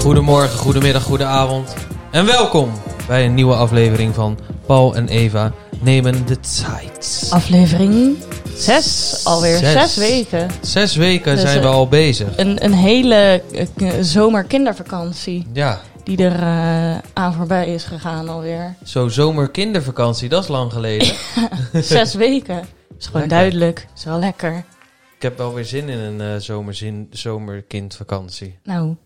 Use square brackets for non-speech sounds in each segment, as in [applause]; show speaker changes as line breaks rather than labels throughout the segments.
Goedemorgen, goedemiddag, goedenavond. En welkom bij een nieuwe aflevering van Paul en Eva nemen de tijd.
Aflevering 6 alweer.
Zes.
6 weken.
Zes weken
Dus,
zijn we
eh,
al bezig.
Een, een hele eh, k- zomerkindervakantie
Ja,
die er eh, aan voorbij is gegaan [laughs] alweer.
zo zomerkindervakantie, dat is lang [laughs] geleden.
Zes weken. is gewoon
Lekker.
duidelijk. Is wel lekker.
Ik heb wel weer zin in een eh, zomerzin, zomerkindvakantie.
Nou,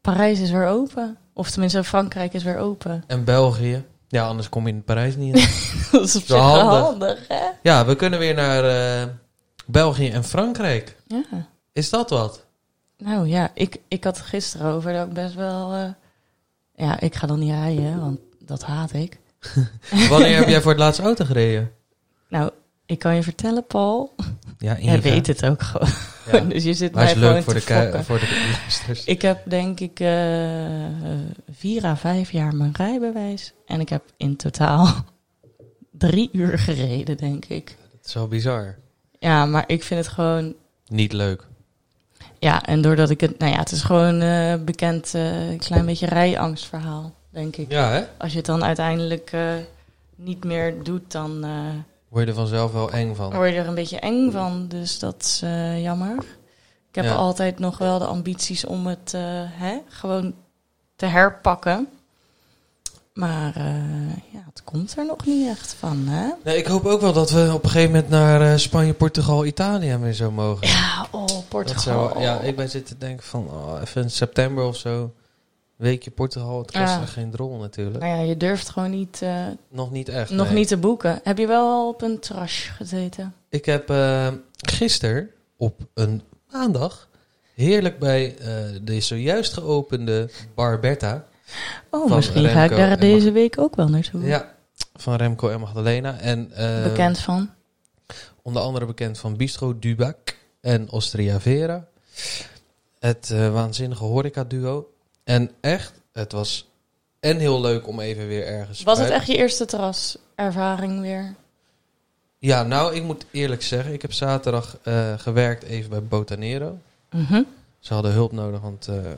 Parijs is weer open. Of tenminste, Frankrijk is weer open. [laughs]
En België. Ja, anders kom je in Parijs niet [laughs] in.
dat is op zich
Wel
wel
handig.
handig. hè?
ja, we kunnen weer naar eh, België en Frankrijk.
Ja.
Is dat [laughs] wat?
Nou ja, ik, ik had het gisteren over dat ik best wel... eh, ja, ik ga dan niet rijden, want dat haat ik.
Wanneer heb jij voor het laatst auto gereden?
Nou, ik kan je vertellen, Paul.
Ja,
Jij
Eva.
weet het ook [laughs] gewoon.
Ja.
dus je zit
Maar
mij
is
gewoon
leuk voor
te
de, ku-
fokken.
voor [laughs] de luisteraars.
Ik heb denk ik eh, eh, vier à vijf jaar mijn rijbewijs. En ik heb in totaal [laughs] drie uur gereden, denk ik.
Het is wel bizar.
Ja, maar ik vind het gewoon...
Niet leuk.
Ja, en doordat ik het... Nou ja, het is gewoon eh, bekend eh, klein beetje rijangstverhaal, denk ik.
Ja, hè?
Als je het dan uiteindelijk eh, niet meer doet, dan eh,
Word je er vanzelf wel eng van.
Oh, word je er een beetje eng van. Dus dat is eh, jammer. Ik heb
Ja.
altijd nog wel de ambities om het eh, hè, gewoon te herpakken. Maar eh, ja, het komt er nog niet echt van, hè?
Nee, ik hoop ook wel dat we op een gegeven moment naar eh, Spanje, Portugal, Italië weer zo mogen.
Ja, oh,
Dat
Portugal.
zou, ja, ik ben zitten denken van oh, even in september of zo. Weekje Portugal, het kost
Ja.
er geen drol natuurlijk.
Nou ja, je durft gewoon niet, eh,
Nog niet echt.
nog
nee.
niet te boeken. Heb je wel al op een terrasje gezeten?
Ik heb eh gisteren op een maandag heerlijk bij eh, de zojuist geopende Barbetta.
Oh,
Van
misschien ga ik
Remco en
daar deze
Mag-
week ook wel naartoe.
Ja, van Remco en Magdalena. En, eh,
Mm. Bekend van.
Onder andere bekend van Bistro Dubac en Ostria Vera. Het eh, waanzinnige horeca-duo. En echt, het was en heel leuk om even weer ergens...
Was het
uit-
echt je eerste terraservaring weer?
Ja, nou, ik moet eerlijk zeggen. Ik heb zaterdag eh, gewerkt even bij Botanero.
Mhm.
Ze hadden hulp nodig, want eh, de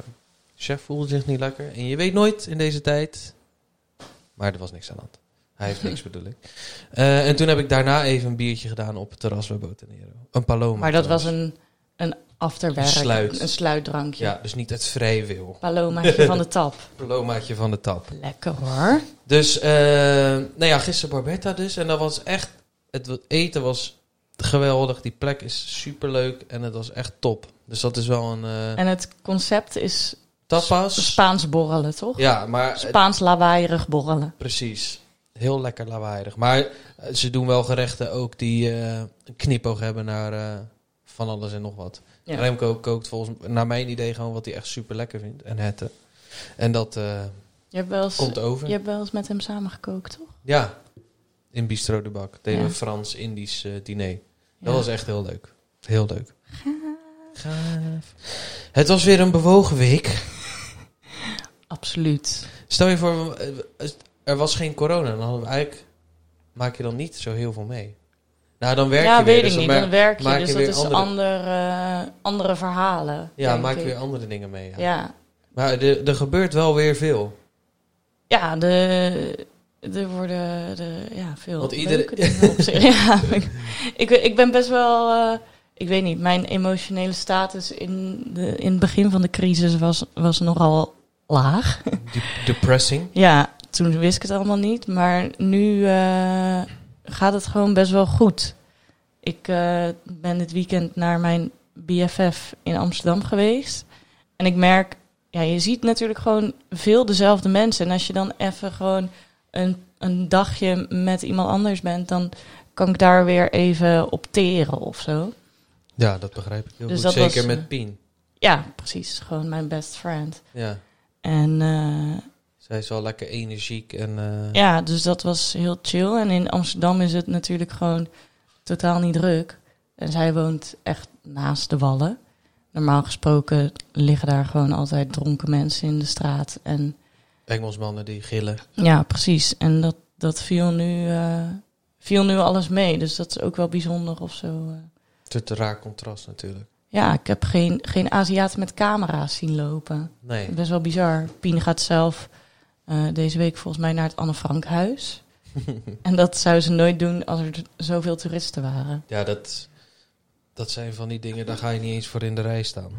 chef voelde zich niet lekker. En je weet nooit in deze tijd. Maar er was niks aan de hand. Hij heeft
[laughs]
niks, bedoel ik. Eh, en toen heb ik daarna even een biertje gedaan op het terras bij Botanero. Een Paloma.
Maar dat
trouwens.
was een, een afterwerk,
Een sluit.
een sluitdrankje.
Ja, dus niet uit vrije wil. [laughs]
Palomaatje van de tap.
Palomaatje van de tap.
Lekker hoor.
Dus, eh nou ja, gisteren Barbetta dus. En dat was echt, het wa- eten was geweldig. Die plek is superleuk en het was echt top. Dus dat is wel een eh
En het concept is
tapas.
Spaans borrelen, toch?
Ja, maar het-
Spaans lawaaierig borrelen.
precies. Heel lekker lawaaierig. Maar eh, ze doen wel gerechten ook die eh, een knipoog hebben naar eh, van alles en nog wat.
Ja.
Remco kookt volgens naar mijn idee gewoon wat hij echt super lekker vindt. En hette. En dat eh,
Je hebt wel eens,
komt over.
je hebt wel eens met hem samengekookt, toch?
Ja, in Bistro de Bak. Deden
Ja.
we Frans-Indisch eh, diner.
Ja.
Dat was echt heel leuk. Heel leuk. Gaaf. Het was weer een bewogen week.
Absoluut.
Stel je voor, eh, er was geen corona. Dan hadden we eigenlijk... Maak je dan niet zo heel veel mee. Nou, dan werk
ja,
je weer.
weet
dus
ik
dan
niet.
mer-
Dan werk je,
maak
dus
je
dat
weer
is
andere-
andere, eh, andere verhalen.
ja,
denk
maak je
ik.
weer andere dingen mee. Ja.
Ja,
Maar er, er gebeurt wel weer
[laughs]
veel.
ja de, er worden de, ja, veel
Want iedere-
leuke dingen op
[laughs]
zich. ja, ik, ik, ik ben best wel... eh, ik weet niet, mijn emotionele status in, de, in het begin van de crisis was, was nogal laag.
De- depressing.
Ja, toen wist ik het allemaal niet. Maar nu eh, gaat het gewoon best wel goed. Ik eh, ben dit weekend naar mijn BFF in Amsterdam geweest. En ik merk, ja, je ziet natuurlijk gewoon veel dezelfde mensen. En als je dan even gewoon een, een dagje met iemand anders bent, dan kan ik daar weer even op teren of zo.
Ja, dat begrijp ik heel
Dus
goed.
dat
Zeker
was,
met Pien.
Ja, precies. Gewoon mijn best friend.
Ja.
En eh,
Zij is wel lekker energiek en... eh,
Ja, dus dat was heel chill. En in Amsterdam is het natuurlijk gewoon totaal niet druk. En zij woont echt naast de wallen. Normaal gesproken liggen daar gewoon altijd dronken mensen in de straat. En
Engelsmannen die gillen.
ja, precies. En dat, dat viel, nu, eh, viel nu alles mee. Dus dat is ook wel bijzonder of zo. eh.
Het is een raar contrast natuurlijk.
Ja, ik heb geen, geen Aziaten met camera's zien lopen.
Nee.
Best wel bizar. Pien gaat zelf eh, deze week volgens mij naar het Anne Frank
[laughs]
huis. en dat zou ze nooit doen als er t- zoveel toeristen waren.
Ja, dat, dat zijn van die dingen, daar ga je niet eens voor in de rij staan.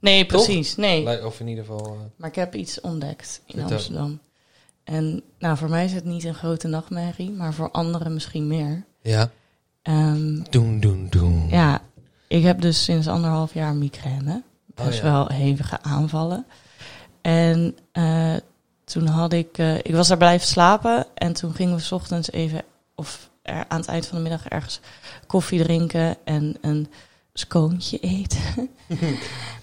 Nee,
Toch?
precies. Nee.
Lij- Of in ieder geval... eh,
Maar ik heb iets ontdekt in
Vertel.
Amsterdam. En nou, voor mij is het niet een grote nachtmerrie, maar voor anderen misschien meer.
ja.
Ehm,
Doen, doen, doen.
ja, ik heb dus sinds anderhalf jaar migraine.
Oh, ja.
Best Dus wel hevige aanvallen. En eh, toen had ik, eh, ik was daar blijven slapen en toen gingen we 's ochtends even, of er, aan het eind van de middag ergens koffie drinken en een scoontje eten.
[laughs]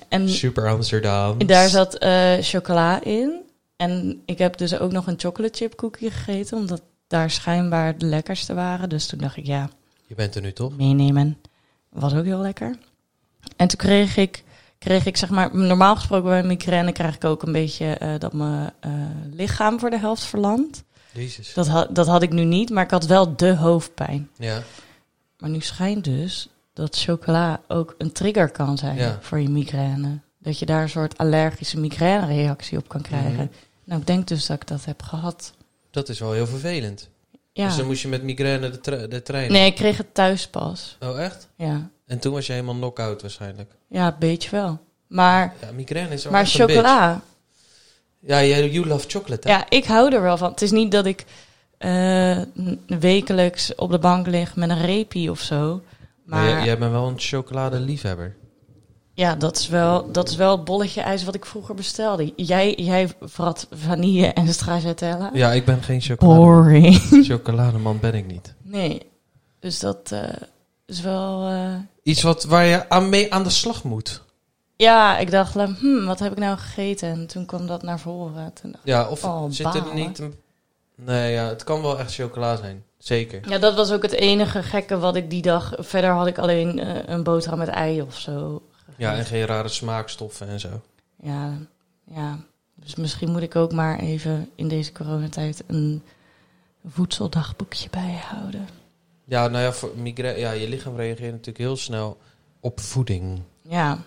en
Super Amsterdam.
Daar zat eh, chocola in. En ik heb dus ook nog een chocolate chip cookie gegeten, omdat daar schijnbaar de lekkerste waren. Dus toen dacht ik, ja,
Je bent er nu toch?
meenemen was ook heel lekker. En toen kreeg ik, kreeg ik zeg maar, normaal gesproken bij migraine krijg ik ook een beetje eh, dat mijn eh, lichaam voor de helft verlamt.
Jezus.
Dat, ha- dat had ik nu niet, maar ik had wel de hoofdpijn.
Ja.
Maar nu schijnt dus dat chocola ook een trigger kan zijn
Ja.
voor je migraine. Dat je daar een soort allergische migrainereactie op kan krijgen.
Mhm.
Nou, ik denk dus dat ik dat heb gehad.
Dat is wel heel vervelend.
Ja.
Dus dan moest je met migraine de, tre- de trein.
nee, ik kreeg het thuis pas.
Oh, echt?
Ja,
En toen was je helemaal knock-out waarschijnlijk.
ja een beetje wel. Maar,
Ja, migraine is wel
maar
echt een
chocola,
bitch. Ja, you, you love chocolate, hè?
ja, ik hou er wel van. Het is niet dat ik eh, n- wekelijks op de bank lig met een repie of zo.
Maar,
Maar,
jij, jij bent wel een chocoladeliefhebber.
Ja, dat is, wel, dat is wel het bolletje ijs wat ik vroeger bestelde. Jij, jij vrat vanille en stracciatella.
Ja, ik ben geen chocolade.
Boring.
chocolademan ben ik niet.
Nee, dus dat eh, is wel... eh,
Iets wat, waar je aan mee aan de slag moet.
Ja, ik dacht, la- hmm, wat heb ik nou gegeten? En toen kwam dat naar voren. Toen dacht
Ja, of
Oh,
zit er
balen.
niet een... Nee, ja, het kan wel echt chocola zijn. Zeker.
ik- Ja, dat was ook het enige gekke wat ik die dag... Verder had ik alleen eh, een boterham met ei of zo.
Ja, en geen rare smaakstoffen en zo.
Ja, ja, dus misschien moet ik ook maar even in deze coronatijd een voedseldagboekje bijhouden.
Ja, nou ja, voor migraine, ja, je lichaam reageert natuurlijk heel snel op voeding,
Ja,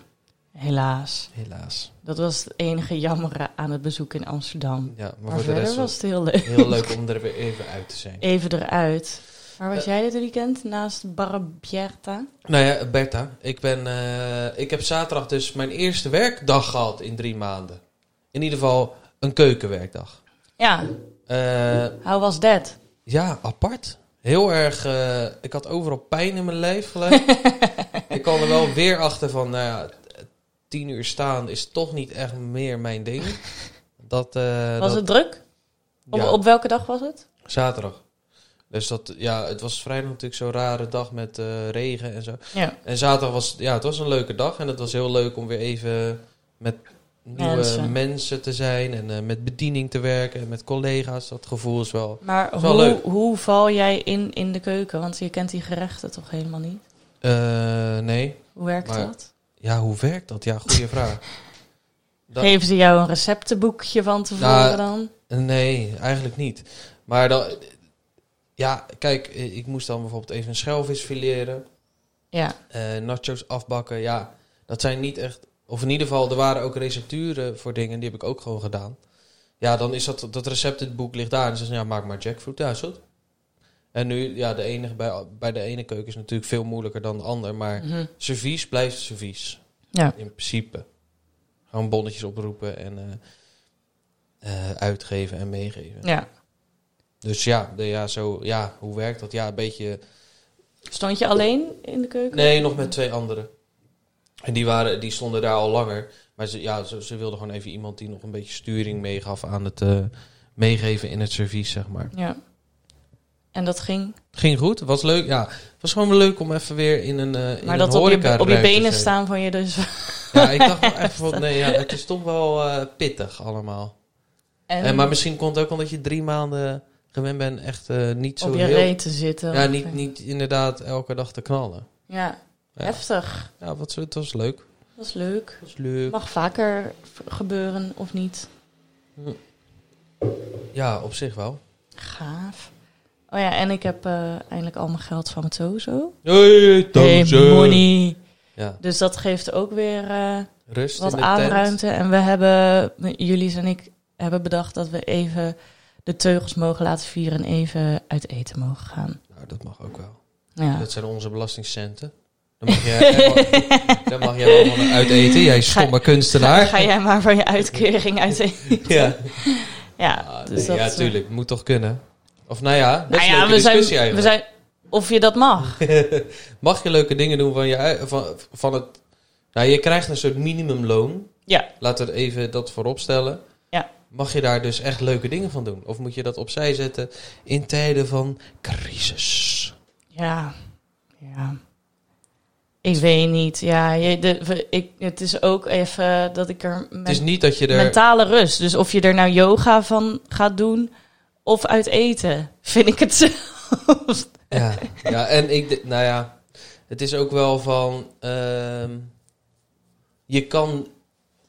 helaas.
helaas.
Dat was het enige jammere aan het bezoek in Amsterdam. Maar,
Ja, maar, voor de
verder
rest
was
was
het heel leuk.
het heel leuk om er weer even uit te zijn.
Even eruit. Waar was
Eh.
jij dit weekend naast Barabierta?
Nou ja, Bertha, ik, ben, eh, ik heb zaterdag dus mijn eerste werkdag gehad in drie maanden. In ieder geval een keukenwerkdag.
Ja,
Eh,
how was that?
ja, apart. Heel erg, eh, ik had overal pijn in mijn lijf
[laughs]
gelijk. ik kwam er wel weer achter van, nou ja, t- tien uur staan is toch niet echt meer mijn ding. Dat, eh,
Was
dat,
het druk? Op,
ja.
op welke dag was het?
Zaterdag. Dus dat, ja, het was vrijdag natuurlijk zo'n rare dag met eh, regen en zo.
Ja.
En zaterdag was, ja, het was een leuke dag. En het was heel leuk om weer even met nieuwe
Mensen.
mensen, te zijn. En eh, met bediening te werken. En met collega's. Dat gevoel is wel...
Maar
Is wel
hoe,
leuk.
hoe val jij in in de keuken? Want je kent die gerechten toch helemaal niet?
eh, nee.
Hoe werkt
Maar-
dat?
Ja, hoe werkt dat? Ja, goede vraag. Dat-
Geven ze jou een receptenboekje van tevoren
Nou,
dan?
Nee, eigenlijk niet. Maar dan... Ja, kijk, eh, ik moest dan bijvoorbeeld even een schelvis fileren.
Ja,
eh, nachos afbakken. Ja, dat zijn niet echt. Of in ieder geval, er waren ook recepturen voor dingen. Die heb ik ook gewoon gedaan. Ja, dan is dat, dat recept, het boek ligt daar. En ze zeggen, ja, maak maar jackfruit. Ja, is goed. En nu, ja, de enige, bij, bij de ene keuken is natuurlijk veel moeilijker dan de ander. Maar
Mhm.
servies blijft servies.
Ja.
In principe. Gewoon bonnetjes oproepen en eh, eh, uitgeven en meegeven.
ja.
Dus ja, de, ja, zo, ja, hoe werkt dat? Ja, een beetje
Stond je alleen in de keuken?
Nee, nog met twee anderen. En die, waren, die stonden daar al langer. Maar ze, ja, ze, ze wilden gewoon even iemand die nog een beetje sturing meegaf aan het eh, meegeven in het servies, zeg maar.
Ja. En dat ging?
Ging goed, was leuk. Ja, het was gewoon leuk om even weer in een eh in een
Maar dat op je, op je
horecaruimte te
benen
zijn.
staan van je dus. [laughs]
Ja, ik dacht wel echt van, nee, ja, het is toch wel eh, pittig allemaal.
En,
En, Eh, maar misschien komt het ook omdat je drie maanden gewend bent echt eh, niet zo
op je
heel...
reet eh, te zitten.
Ja, niet, niet inderdaad elke dag te knallen.
Ja,
Ja,
heftig.
ja wat, zo- het was leuk.
Dat is leuk.
Het was leuk.
Mag vaker v- gebeuren of niet?
Ja, op zich wel.
Gaaf. Oh ja, en ik heb eh, eindelijk al mijn geld van mijn Tozo.
Hey,
Hey, money.
Ja.
Dus dat geeft ook weer eh,
Rust
wat
in de tent.
ademruimte. En we hebben, Julius en ik hebben bedacht dat we even de teugels mogen laten vieren en even uit eten mogen gaan.
Nou, dat mag ook wel.
Ja.
Dat zijn onze belastingcenten. Dan mag Dus, eh, jij, [laughs]
[laughs]
dan mag jij wel gewoon uit eten, jij stomme kunstenaar.
Ga, ga jij maar van je uitkering uit
[laughs]
eten.
ja.
Ja,
Ah,
dus
nee,
dat,
ja,
eh,
tuurlijk. Moet toch kunnen? Of nou ja, dat
Nou
is een
ja,
leuke
we zijn,
discussie
we
eigenlijk.
zijn. Of je dat mag.
[laughs] Mag je leuke dingen doen van, je, ui- van, van het... Nou, je krijgt een soort minimumloon.
Ja.
Laten we even dat voorop stellen.
Ja.
Mag je daar dus echt leuke dingen van doen? Of moet je dat opzij zetten in tijden van crisis?
Ja. Ja. Ik weet niet. Ja, je, de, we- ik, het is ook even dat ik er
Het is
met
niet dat je er...
mentale rust. Dus of je er nou yoga van gaat doen of uit eten, vind ik het zelfs.
Ja, ja en ik, d- nou ja, het is ook wel van, ehm, je kan,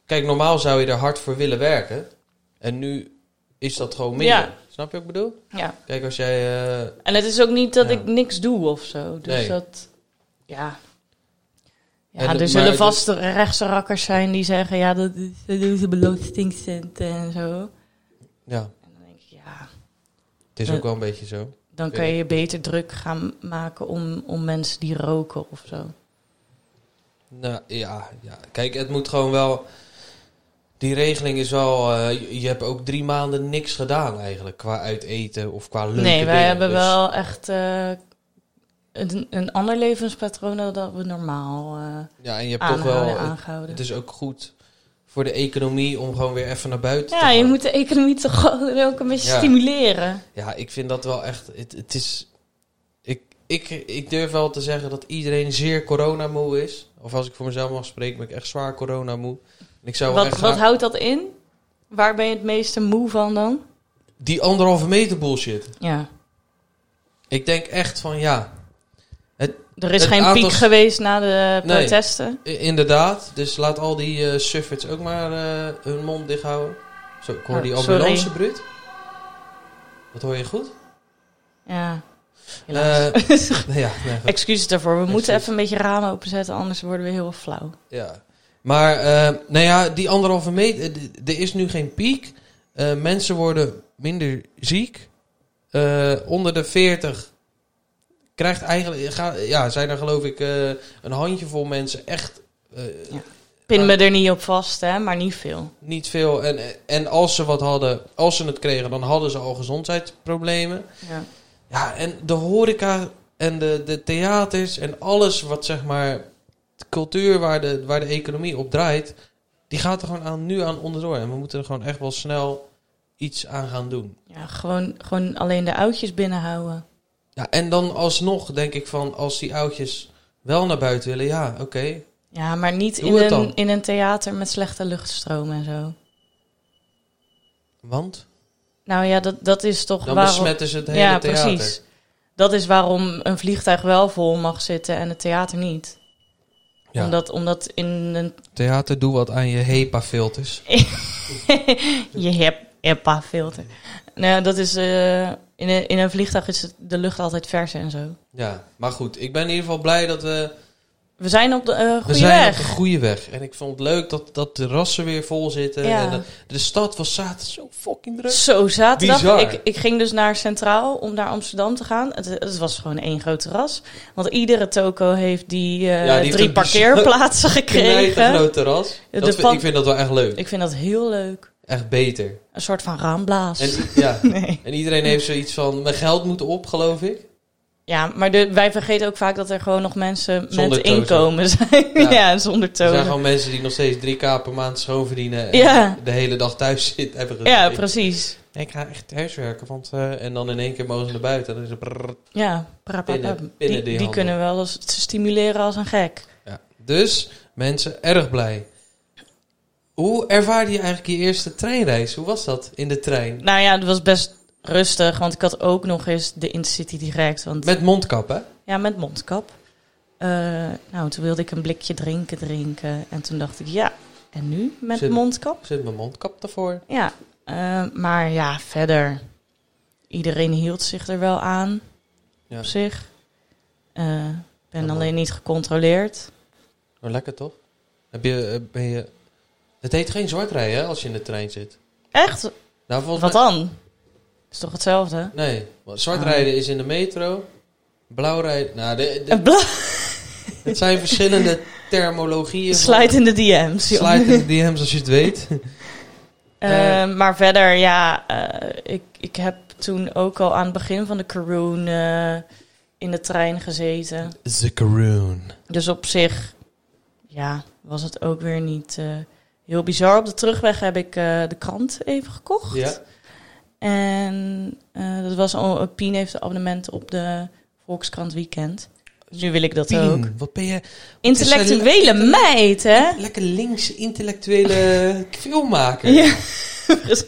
kijk, normaal zou je er hard voor willen werken. En nu is dat gewoon minder.
Ja.
Snap je wat ik bedoel?
Ja.
Kijk, als jij, eh,
En het is ook niet dat
Ja.
ik niks doe of zo. Dus
Nee.
dat. Ja.
En
Ja,
dat-
er
maar
zullen
dat-
vast rechtse rakkers zijn die zeggen: ja, dat is dat is de belastingcenten en zo.
ja,
En dan denk ik, ja,
het is ook wel een beetje zo.
dan kan je beter druk gaan maken om, om mensen die roken of zo.
Nou ja, ja, kijk, het moet gewoon wel, die regeling is wel, eh, je- je hebt ook drie maanden niks gedaan eigenlijk, qua uit eten of qua leuke
nee, wij
dingen.
hebben
Dus-
wel echt eh, een, een ander levenspatroon dan dat we normaal eh
Ja, en je hebt toch
aanhouden,
wel, dus het-
aangehouden.
Het is ook goed voor de economie om gewoon weer even naar buiten te
ja, je
gaan.
moet de economie toch [laughs] gewoon ook een beetje
Ja.
stimuleren.
Ja, ik vind dat wel echt... Het, het is... Ik, ik, ik durf wel te zeggen dat iedereen zeer coronamoe is. Of als ik voor mezelf mag spreken, ben ik echt zwaar coronamoe. En ik zou wel
Wat,
echt
wat
graag-
houdt dat in? Waar ben je het meeste moe van dan?
Die anderhalve meter bullshit.
Ja.
Ik denk echt van ja,
Er is
Het
geen
aantal-
piek geweest na de
Nee.
protesten.
i- inderdaad. Dus laat al die eh sufferts ook maar eh, hun mond dicht houden. Zo, ik hoor
Oh,
die
sorry.
ambulance, bruut. Wat hoor je goed? [laughs]
Ja.
Eh,
Helaas.
nou ja, nee, goed.
[laughs] Excuses daarvoor. We moeten
Excuus.
even een beetje ramen openzetten, anders worden we heel flauw.
Ja. Maar, eh, nou ja, die anderhalve meter, eh, d- er is nu geen piek. Eh, mensen worden minder ziek. Eh, onder de 40 krijgt eigenlijk, ga- ja, zijn er geloof ik eh, een handjevol mensen echt eh,
Pin me er niet op vast, hè, maar niet veel.
niet veel. En, en als ze wat hadden, als ze het kregen, dan hadden ze al gezondheidsproblemen.
Ja.
Ja, en de horeca en de, de theaters en alles wat zeg maar de cultuur waar de, waar de economie op draait, die gaat er gewoon aan, nu aan onderdoor. En we moeten er gewoon echt wel snel iets aan gaan doen.
Ja, gewoon, gewoon alleen de oudjes binnenhouden.
Ja, en dan alsnog denk ik van als die oudjes wel naar buiten willen, ja, oké.
Ja, maar niet
Doe
in
het
een,
dan.
in een theater met slechte luchtstroom en zo.
Want
Nou ja, dat, dat is toch
dan
waarom...
besmetten ze het hele
ja,
theater.
precies. Dat is waarom een vliegtuig wel vol mag zitten en het theater niet.
Ja,
Omdat, omdat in een...
theater doe wat aan je HEPA-filters.
je hebt EPA-filter. Nou, ja, dat is... eh, in, een, in een vliegtuig is het- de lucht altijd vers en zo.
Ja, maar goed, ik ben in ieder geval blij dat we
We zijn op de eh,
We
goede
zijn
weg.
op de goede weg. En ik vond het leuk dat, dat de rassen weer vol zitten.
Ja.
En de, de stad was zaterdag zo fucking druk.
Zo, zaterdag.
Bizar.
Ik, ik ging dus naar Centraal om naar Amsterdam te gaan. Het, het was gewoon één groot terras. Want iedere toko heeft die, eh,
Ja, die heeft
drie
een bizar- [laughs]
parkeerplaatsen
Knijten
gekregen.
groot terras.
De
Dat vind-
pan-
ik vind dat wel echt leuk.
Ik vind dat heel leuk.
Echt beter.
Een soort van raamblaas.
En, ja.
[laughs] Nee.
en iedereen heeft zoiets van, mijn geld moet op, geloof ik.
Ja, maar de, wij vergeten ook vaak dat er gewoon nog mensen
Zonder
met
tozen.
inkomen [laughs] zijn.
Ja.
Ja, zonder
Er zijn
toon.
gewoon mensen die nog steeds 3k per maand schoon verdienen. En
Ja.
de hele dag thuis zitten. Hebben gezegd,
Ja,
ik-
precies.
ik, ga echt thuiswerken. Want, eh, en dan in één keer mogen ze naar buiten. En dan is het brrr.
Ja, pra- pra-
Binnen-
pra-
binnen die
die, die
handel.
kunnen wel eens stimuleren als een gek.
Ja. Dus mensen, erg blij. Hoe ervaarde je eigenlijk je eerste treinreis? Hoe was dat in de trein?
Nou ja, dat was best rustig, want ik had ook nog eens de Intercity Direct. Want
Met mondkap, hè?
Ja, met mondkap. Eh, nou, toen wilde ik een blikje drinken drinken. En toen dacht ik, ja, en nu met
Zit-
mondkap?
Zit mijn mondkap ervoor?
Ja, eh, maar ja, verder. Iedereen hield zich er wel aan,
Ja.
op zich. Eh,
Ja,
ben
mooi.
alleen niet gecontroleerd.
Maar Oh, lekker toch? Heb je, eh, ben je... Het heet geen zwart rijden hè, als je in de trein zit.
Echt?
Nou, volgens
Wat
mij-
dan? Is toch hetzelfde?
Nee, want zwart
Ah.
rijden is in de metro. Blauw rijden... Nou, de- de-
Een bla-
het zijn verschillende termologieën. van-
Slijt in de DM's. joh.
Slide in de DM's als je het weet.
Eh, maar verder, ja, eh, ik, ik heb toen ook al aan het begin van de Caroon eh, in de trein gezeten.
The Caroon.
Dus op zich, ja, was het ook weer niet eh, heel bizar. Op de terugweg heb ik eh, de krant even gekocht.
Ja.
En eh, dat was al, Pien heeft een abonnement op de Volkskrant Weekend. Dus nu wil ik dat ook.
Pien, wat ben je...
Intellectuele meid, hè?
Lekker links intellectuele filmmaker.
Ja, [laughs] precies.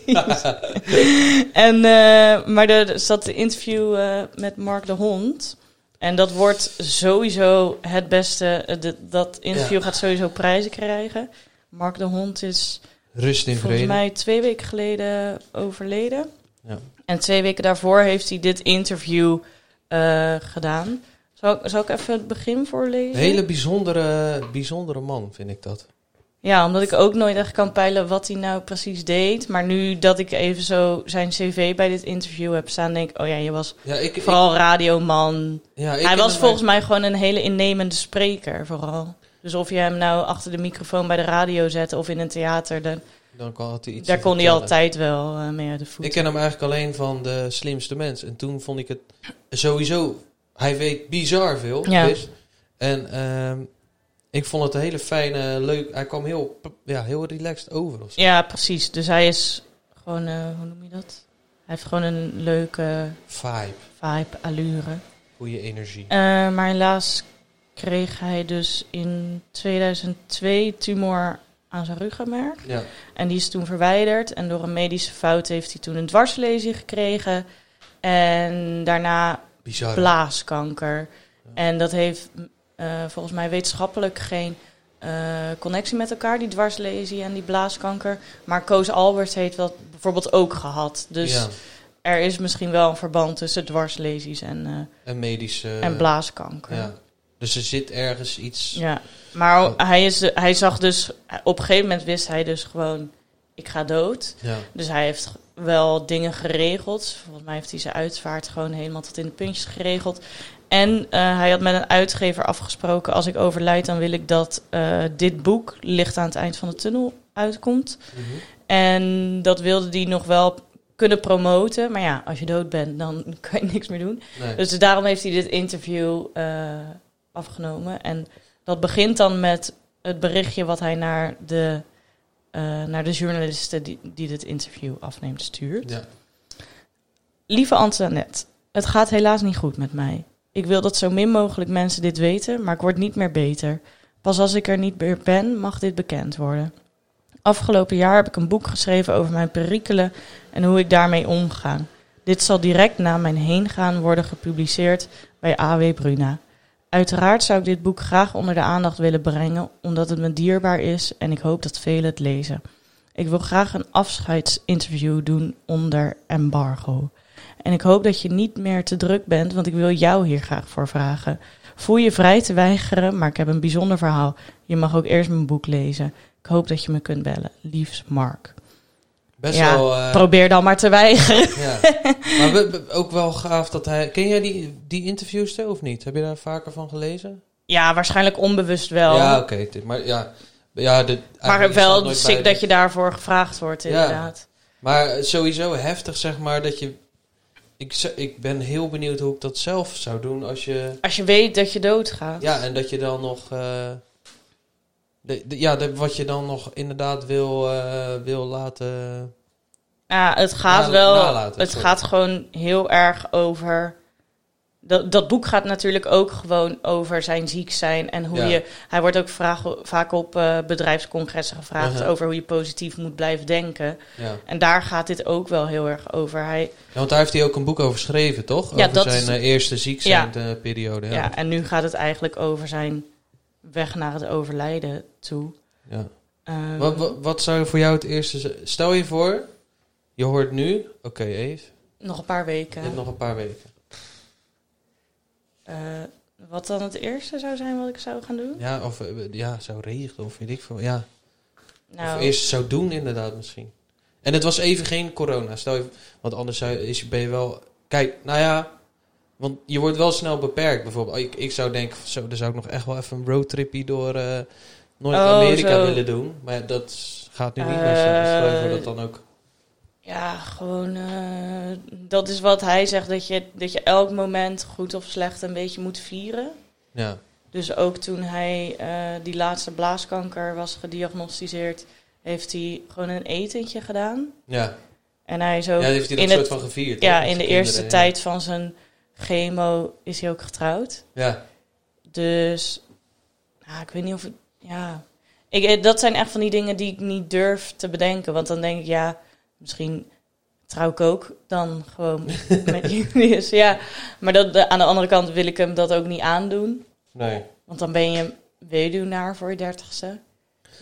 en, eh, maar er zat een interview eh, met Mark de Hond. En dat wordt sowieso het beste. eh, de- dat interview gaat sowieso prijzen krijgen. Mark de Hond is
Rust in
volgens
vrede.
mij twee weken geleden overleden.
Ja.
En twee weken daarvoor heeft hij dit interview eh, gedaan. Zal, ik- zal ik even het begin
Een
voorlezen?
hele bijzondere, bijzondere man, vind ik dat.
Ja, omdat ik ook nooit echt kan peilen wat hij nou precies deed. Maar nu dat ik even zo zijn cv bij dit interview heb staan, denk ik... Oh ja, je was
Ja, ik, ik-
vooral radioman.
ja, ik
Hij
ken
was
hem
volgens mij gewoon een hele innemende spreker, vooral. Dus of je hem nou achter de microfoon bij de radio zette of in een theater... dan-
eigenlijk- Dan kon had hij iets
daar
te
kon hij
vertellen.
altijd wel eh, mee uit de voeten.
Ik ken hem eigenlijk alleen van de slimste mens. En toen vond ik het sowieso... Hij weet bizar veel.
Ja.
dus. En ehm, ik vond het een hele fijne, leuk... Hij kwam heel, ja, heel relaxed over. Of zo.
Ja, precies. Dus hij is gewoon, eh, hoe noem je dat? Hij heeft gewoon een leuke
Vibe,
vibe, allure.
goede energie.
Eh, maar helaas kreeg hij dus in 2002 tumor aan zijn ruggenmerk.
Ja.
En die is toen verwijderd. En door een medische fout heeft hij toen een dwarslezing gekregen. En daarna
Bizar.
blaaskanker.
Ja.
En dat heeft eh, volgens mij wetenschappelijk geen eh, connectie met elkaar, die dwarslesie en die blaaskanker. Maar Koos Albert heeft dat bijvoorbeeld ook gehad. Dus
Ja.
er is misschien wel een verband tussen dwarslesies en, eh,
En medische...
en blaaskanker.
Eh, Ja. Dus er zit ergens iets...
Ja, maar
Oh.
hij, is, hij zag dus, op een gegeven moment wist hij dus gewoon, ik ga dood.
Ja.
Dus hij heeft g- wel dingen geregeld. Volgens mij heeft hij zijn uitvaart gewoon helemaal tot in de puntjes geregeld. En eh, hij had met een uitgever afgesproken, als ik overlijd, dan wil ik dat eh, dit boek, Licht aan het eind van de tunnel, uitkomt.
Mhm.
En dat wilde hij nog wel kunnen promoten. Maar ja, als je dood bent, dan [laughs] kan je niks meer doen.
Nee.
Dus daarom heeft hij dit interview eh, afgenomen. En dat begint dan met het berichtje wat hij naar de, eh, naar de journalisten die, die dit interview afneemt stuurt.
ja.
Lieve Antoinette, het gaat helaas niet goed met mij. Ik wil dat zo min mogelijk mensen dit weten, maar ik word niet meer beter. Pas als ik er niet meer ben, mag dit bekend worden. Afgelopen jaar heb ik een boek geschreven over mijn perikelen en hoe ik daarmee omga. Dit zal direct na mijn heengaan worden gepubliceerd bij AW Bruna. Uiteraard zou ik dit boek graag onder de aandacht willen brengen, omdat het me dierbaar is en ik hoop dat velen het lezen. Ik wil graag een afscheidsinterview doen onder embargo. En ik hoop dat je niet meer te druk bent, want ik wil jou hier graag voor vragen. Voel je vrij te weigeren, maar ik heb een bijzonder verhaal. Je mag ook eerst mijn boek lezen. Ik hoop dat je me kunt bellen. Liefs Mark.
Best
Ja,
wel... eh,
Probeer dan maar te weigeren.
ja. Maar we- we- ook wel gaaf dat hij... Ken jij die, die interviewster of niet? Heb je daar vaker van gelezen?
Ja, waarschijnlijk onbewust wel.
Ja, oké. dit- Maar ja... ja dit,
maar
eigenlijk is
wel
nooit
sick
bij-
dat je daarvoor gevraagd wordt,
Ja.
inderdaad.
Maar sowieso heftig, zeg maar, dat je... Ik, z- ik ben heel benieuwd hoe ik dat zelf zou doen als je...
Als je weet dat je doodgaat.
Ja, en dat je dan nog... eh, de, de- ja, de- wat je dan nog inderdaad wil, eh, wil laten...
Ja, het gaat
Na-
wel.
nalaten,
het
sorry.
gaat gewoon heel erg over. Dat, dat boek gaat natuurlijk ook gewoon over zijn ziek zijn en hoe
Ja.
je. Hij wordt ook vraag, vaak op eh, bedrijfscongressen gevraagd
Uh-huh.
over hoe je positief moet blijven denken.
Ja.
En daar gaat dit ook wel heel erg over. Hij,
Ja, want daar heeft hij ook een boek over geschreven, toch?
Ja,
over
dat
zijn
is-
eh, eerste ziekzijnperiode.
ja.
Ja. Ja.
en nu gaat het eigenlijk over zijn weg naar het overlijden toe. Ehm,
Wat, wat, wat zou voor jou het eerste... z- Stel je voor, je hoort nu... Oké, Eve,
nog een paar
je
weken.
hebt nog een paar weken.
Eh, Wat dan het eerste zou zijn wat ik zou gaan doen?
Ja, of eh, ja, zou regelen of weet ik veel. Ja.
Nou,
Of eerst zou doen inderdaad misschien. En het was even geen corona. Stel je, want anders zou, is, ben je wel... Kijk, nou ja, want je wordt wel snel beperkt. Bijvoorbeeld, ik, ik zou denken, van, zo, dan zou ik nog echt wel even een roadtripje door eh, Noord-Amerika
Oh, zo.
willen doen. Maar ja, dat gaat nu niet
Eh,
meer zo. Dus stel je voor dat dan ook...
ja, gewoon. eh, dat is wat hij zegt: dat je, dat je elk moment, goed of slecht, een beetje moet vieren.
Ja,
Dus ook toen hij eh, die laatste blaaskanker was gediagnosticeerd, heeft hij gewoon een etentje gedaan.
ja.
En hij is
ja
ook
heeft hij dat
in,
soort
het,
van gevierd.
ja,
hè,
in
met
de eerste
kinderen, ja.
tijd van zijn chemo is hij ook getrouwd.
Ja,
Dus nou, ik weet niet of het. Ja. Ik, eh, dat zijn echt van die dingen die ik niet durf te bedenken. Want dan denk ik, ja, misschien trouw ik ook dan
[laughs]
gewoon met Julius. Ja. Maar dat, aan de andere kant wil ik hem dat ook niet aandoen.
nee.
Want dan ben je weduwnaar voor je dertigste.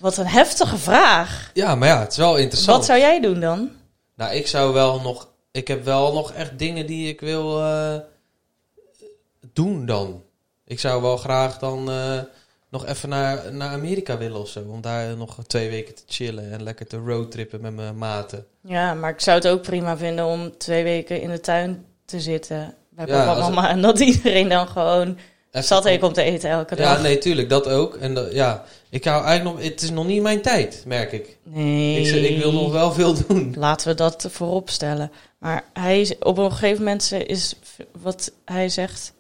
Wat een heftige vraag.
Ja, maar ja, het is wel interessant.
Wat zou jij doen dan?
Nou, ik zou wel nog. Ik heb wel nog echt dingen die ik wil eh, doen dan. Ik zou wel graag dan eh, nog even naar, naar Amerika willen of zo. Om daar nog twee weken te chillen en lekker te roadtrippen met mijn maten.
Ja, maar ik zou het ook prima vinden om twee weken in de tuin te zitten bij
Ja,
papa en
als-
mama. En dat iedereen dan gewoon
Even-
zat ik om te eten elke dag.
Ja, nee, tuurlijk, dat ook. En dat- ja, ik hou eigenlijk nog. Het is nog niet mijn tijd, merk ik.
Nee.
Ik, zeg, ik wil nog wel veel doen.
Laten we dat voorop stellen. Maar hij is, op een gegeven moment is wat hij zegt,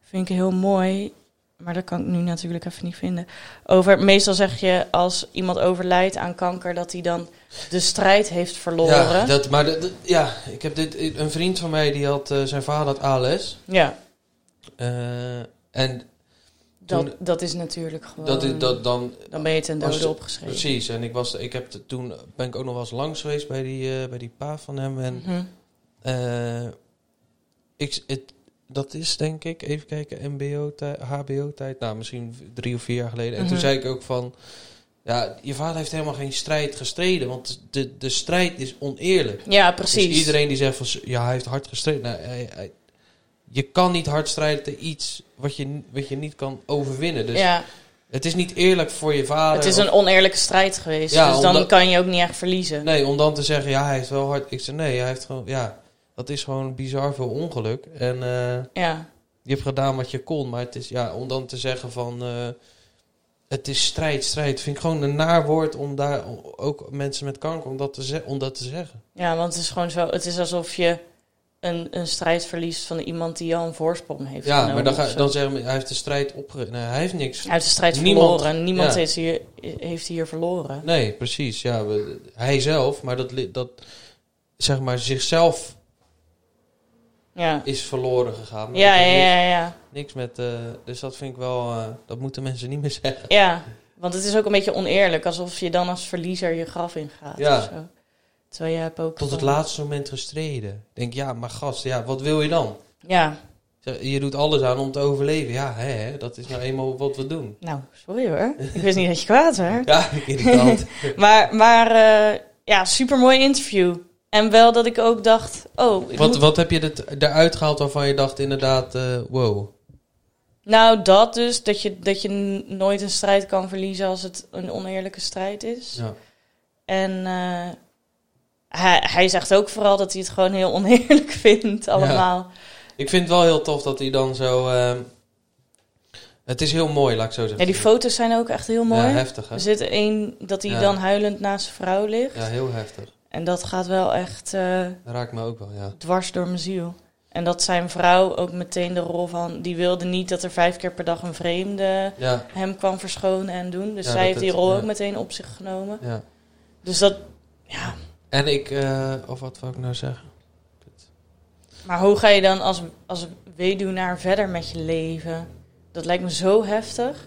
vind ik heel mooi. Maar dat kan ik nu natuurlijk even niet vinden. Over, meestal zeg je als iemand overlijdt aan kanker dat hij dan de strijd heeft verloren.
Ja,
Ja,
dat, maar dat- dat- ja, ik heb dit. Een vriend van mij die had. eh, zijn vader had ALS. Eh, en
dat,
Toen-
dat is natuurlijk gewoon.
dat, is- dat, dan
dan ben je ten
Als-
dode opgeschreven.
Precies, en ik was, ik heb t- toen ben ik ook nog wel eens langs geweest bij die, eh, bij die pa van hem. En
Mhm.
eh, ik, s- het, dat is denk ik, even kijken, MBO-tijd, HBO-tijd, nou misschien v- drie of vier jaar geleden. En toen
Mhm.
zei ik ook van, ja, je vader heeft helemaal geen strijd gestreden, want de, de strijd is oneerlijk.
Ja, precies.
Dus iedereen die zegt van, s- ja, hij heeft hard gestreden. Nou, hij- hij- je kan niet hard strijden tegen iets wat je, n- wat je niet kan overwinnen. Dus
ja,
het is niet eerlijk voor je vader.
het is
of-
een oneerlijke strijd geweest.
Ja,
dus dan
omdat-
kan je ook niet echt verliezen.
Nee, om dan te zeggen, ja, hij heeft wel hard. Ik zei, nee, hij heeft gewoon, ja, dat is gewoon bizar veel ongeluk. En eh,
Ja.
je hebt gedaan wat je kon, maar het is, ja, om dan te zeggen van, eh, het is strijd, strijd, vind ik gewoon een naar woord om daar o- ook mensen met kanker om dat te, ze- om dat te zeggen.
Ja, want het is gewoon zo. Het is alsof je een, een strijd verliest van iemand die al een voorsprong heeft. nou
Ja,
genomen
maar dan,
of
ga,
zo.
dan zeggen we, hij heeft de strijd opge... Nee, hij heeft niks.
Hij heeft de strijd
Niemand-
verloren. Niemand
ja.
heeft, hier, heeft hier verloren.
Nee, precies. Ja, we- hij zelf, maar dat, li- dat, zeg maar, zichzelf
Ja,
is verloren gegaan. Maar
ja,
dat
ja,
heeft
ja, ja.
Niks, niks met, eh, dus dat vind ik wel, eh, dat moeten mensen niet meer zeggen.
Ja, want het is ook een beetje oneerlijk. Alsof je dan als verliezer je graf ingaat.
Ja.
of zo. Terwijl je hebt ook...
tot het
gewoon-
laatste moment gestreden. Ik Denk, ja, maar gast, ja, wat wil je dan?
Ja,
Zeg, Je doet alles aan om te overleven. Ja, hè, hè, dat is nou eenmaal wat we doen.
nou, sorry hoor. Ik wist niet dat je kwaad
[laughs]
werd.
Ja, irritant.
Maar, maar eh, ja, supermooi interview. En wel dat ik ook dacht... Oh, [laughs] ik
wat,
moet-
wat heb je er- eruit gehaald waarvan je dacht inderdaad, eh, wow.
Nou, dat dus. Dat je, dat je n- nooit een strijd kan verliezen als het een oneerlijke strijd is.
Ja.
En eh, hij, hij zegt ook vooral dat hij het gewoon heel oneerlijk [laughs] vindt allemaal.
Ik vind het wel heel tof dat hij dan zo... ehm, het is heel mooi, laat ik zo
Ja,
zeggen.
die foto's zijn ook echt heel mooi. Dus-
Ja, heftig, hè?
er zit één dat hij
Ja.
dan huilend naast zijn vrouw ligt.
Ja, heel heftig.
En dat gaat wel echt eh,
Dat raakt me ook wel, ja.
dwars door mijn ziel. En dat zijn vrouw ook meteen de rol van... Die wilde niet dat er vijf keer per dag een vreemde
Ja,
hem kwam verschonen en doen. Dus
Ja,
zij
dat
heeft die
het-
rol
ja.
ook meteen op zich genomen.
ja.
Dus dat, ja.
En ik... eh, of wat wil ik nou zeggen?
Maar hoe ga je dan als, als weduwnaar verder met je leven? Dat lijkt me zo heftig.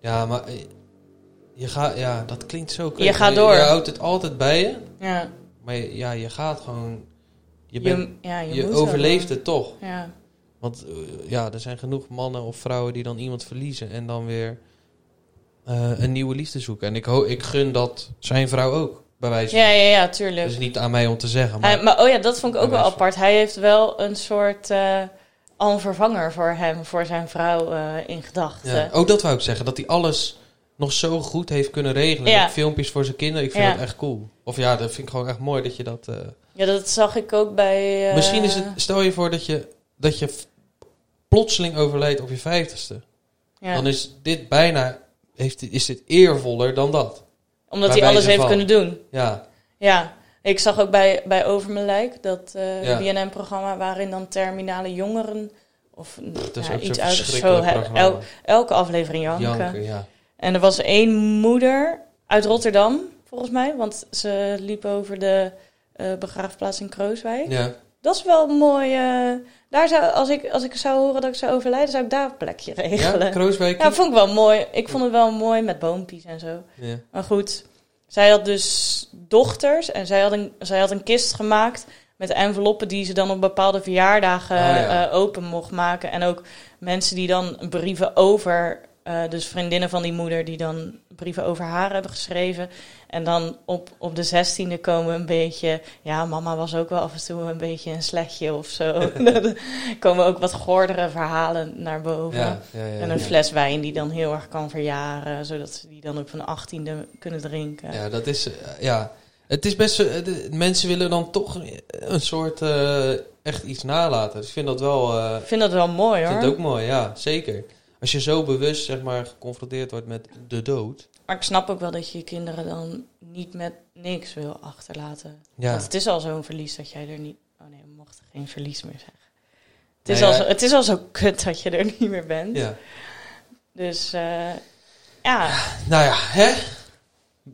Ja, maar... eh, Je gaat... Ja, dat klinkt zo...
Je gaat
maar
door.
Je houdt het altijd bij je.
Ja,
Maar je- ja, je gaat gewoon. Je,
je,
bent,
ja, je,
je,
moet wel.
overleeft het toch.
Ja.
Want eh, ja, er zijn genoeg mannen of vrouwen die dan iemand verliezen en dan weer eh, een nieuwe liefde zoeken. En ik, ho- ik gun dat zijn vrouw ook, bij wijze van.
ja, ja, ja, tuurlijk.
Dat is niet aan mij om te zeggen. Dus- Maar
Hij- maar oh ja, dat vond ik ook wel
Bewijs van.
apart. Hij heeft wel een soort eh, al een vervanger voor hem, voor zijn vrouw eh, in gedachten.
Ja. Ook dat wou ik zeggen, dat hij alles nog zo goed heeft kunnen regelen.
Ja.
Met Filmpjes voor zijn kinderen, ik vind
Ja.
dat echt cool. Of ja, dat vind ik gewoon echt mooi dat je dat... eh,
Ja, dat zag ik ook bij. eh,
Misschien is het, stel je voor dat je, dat je f- plotseling overlijdt op je vijftigste.
ja,
Dan is dit bijna, heeft, is dit eervoller dan dat.
omdat
bij
hij alles
wijze
heeft
van.
kunnen doen.
Ja,
Ja. Ik zag ook bij, bij Over Mijn Lijk dat eh
Ja.
BNN-programma waarin dan terminale jongeren. Of
dat is
ja,
ook zo'n
iets uit
verschrikkelijk
zo. hè, eh,
programma.
el- elke aflevering janken.
Janken, ja.
En er was één moeder uit Rotterdam, volgens mij. Want ze liep over de eh, begraafplaats in Krooswijk.
ja.
Dat is wel mooi. eh, daar zou, als, ik, als ik zou horen dat ik zou overlijden, zou ik daar een plekje regelen.
Ja,
Ja,
Krooswijk.
dat vond ik wel mooi. Ik vond het wel mooi met boompies en zo.
Ja.
Maar goed, zij had dus dochters en zij had een, zij had een kist gemaakt met enveloppen die ze dan op bepaalde verjaardagen
Ah, ja.
eh, open mocht maken. En ook mensen die dan brieven over, eh, dus vriendinnen van die moeder die dan brieven over haar hebben geschreven. En dan op, op de zestiende komen een beetje, ja mama was ook wel af en toe een beetje een slechtje of
[laughs]
zo. [laughs] Dan komen ook wat goordere verhalen naar boven.
Ja, ja, ja,
En een
Eh, ja.
fles wijn die dan heel erg kan verjaren, zodat ze die dan op hun achttiende kunnen drinken.
Ja, dat is. eh, ja. Het is best. eh, de- mensen willen dan toch een soort. eh, echt iets nalaten. Dus ik vind dat wel. eh,
Ik vind dat wel mooi
ik
hoor.
vind het ook mooi, ja, zeker. Als je zo bewust, zeg maar, geconfronteerd wordt met de dood.
Maar ik snap ook wel dat je je kinderen dan niet met niks wil achterlaten.
Ja.
Want het is al zo'n verlies dat jij er niet... Oh nee, we mochten geen verlies meer zeggen. Het is,
Nou ja.
al, zo, het is al zo kut dat je er [laughs] niet meer bent.
ja.
Dus eh, ja,
Nou ja, hè?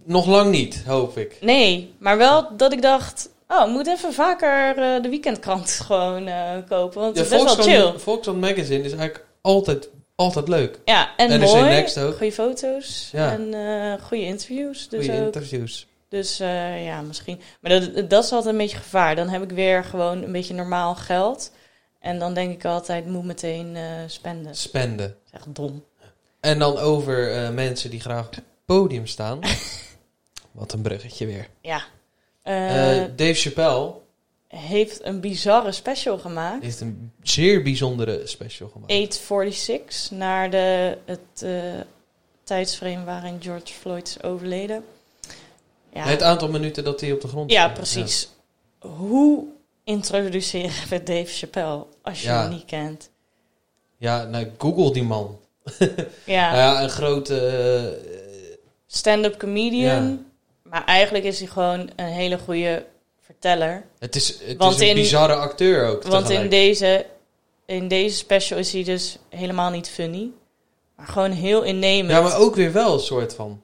Nog lang niet, hoop ik.
nee. Maar wel dat ik dacht... Oh, ik moet even vaker eh, de weekendkrant [laughs] gewoon eh, kopen. Want
Ja,
het is best wel chill.
Volkskrant Magazine is eigenlijk altijd, altijd leuk.
Ja, en
NRC
mooi.
Next ook.
Goede foto's
Ja.
en eh, goede interviews. Dus
Goede
ook.
interviews.
dus eh, ja, misschien. Maar dat, dat is altijd een beetje gevaar. Dan heb ik weer gewoon een beetje normaal geld. En dan denk ik altijd, moet meteen eh, spenden. Dat
Spenden.
is echt dom.
En dan over eh, mensen die graag op het podium
[laughs]
staan. Wat een bruggetje weer.
Ja. Eh,
Eh, Dave Chappelle
heeft een bizarre special gemaakt.
heeft een zeer bijzondere special gemaakt.
846, naar de, het eh, tijdsframe waarin George Floyd is overleden. Ja.
Het aantal minuten dat hij op de grond
Ja,
stond.
precies. Hoe introduceren we Dave Chappelle als je
Ja.
hem niet kent?
Ja, Ja, nou, Google die man.
Ja,
Nou ja, een grote... eh,
stand-up comedian.
Ja.
Maar eigenlijk is hij gewoon een hele goede verteller.
het is, het
Want
is een
in-
bizarre acteur ook.
Want in
tegelijk.
deze, in deze special is hij dus helemaal niet funny. Maar gewoon heel innemend.
Ja, maar ook weer wel een soort van...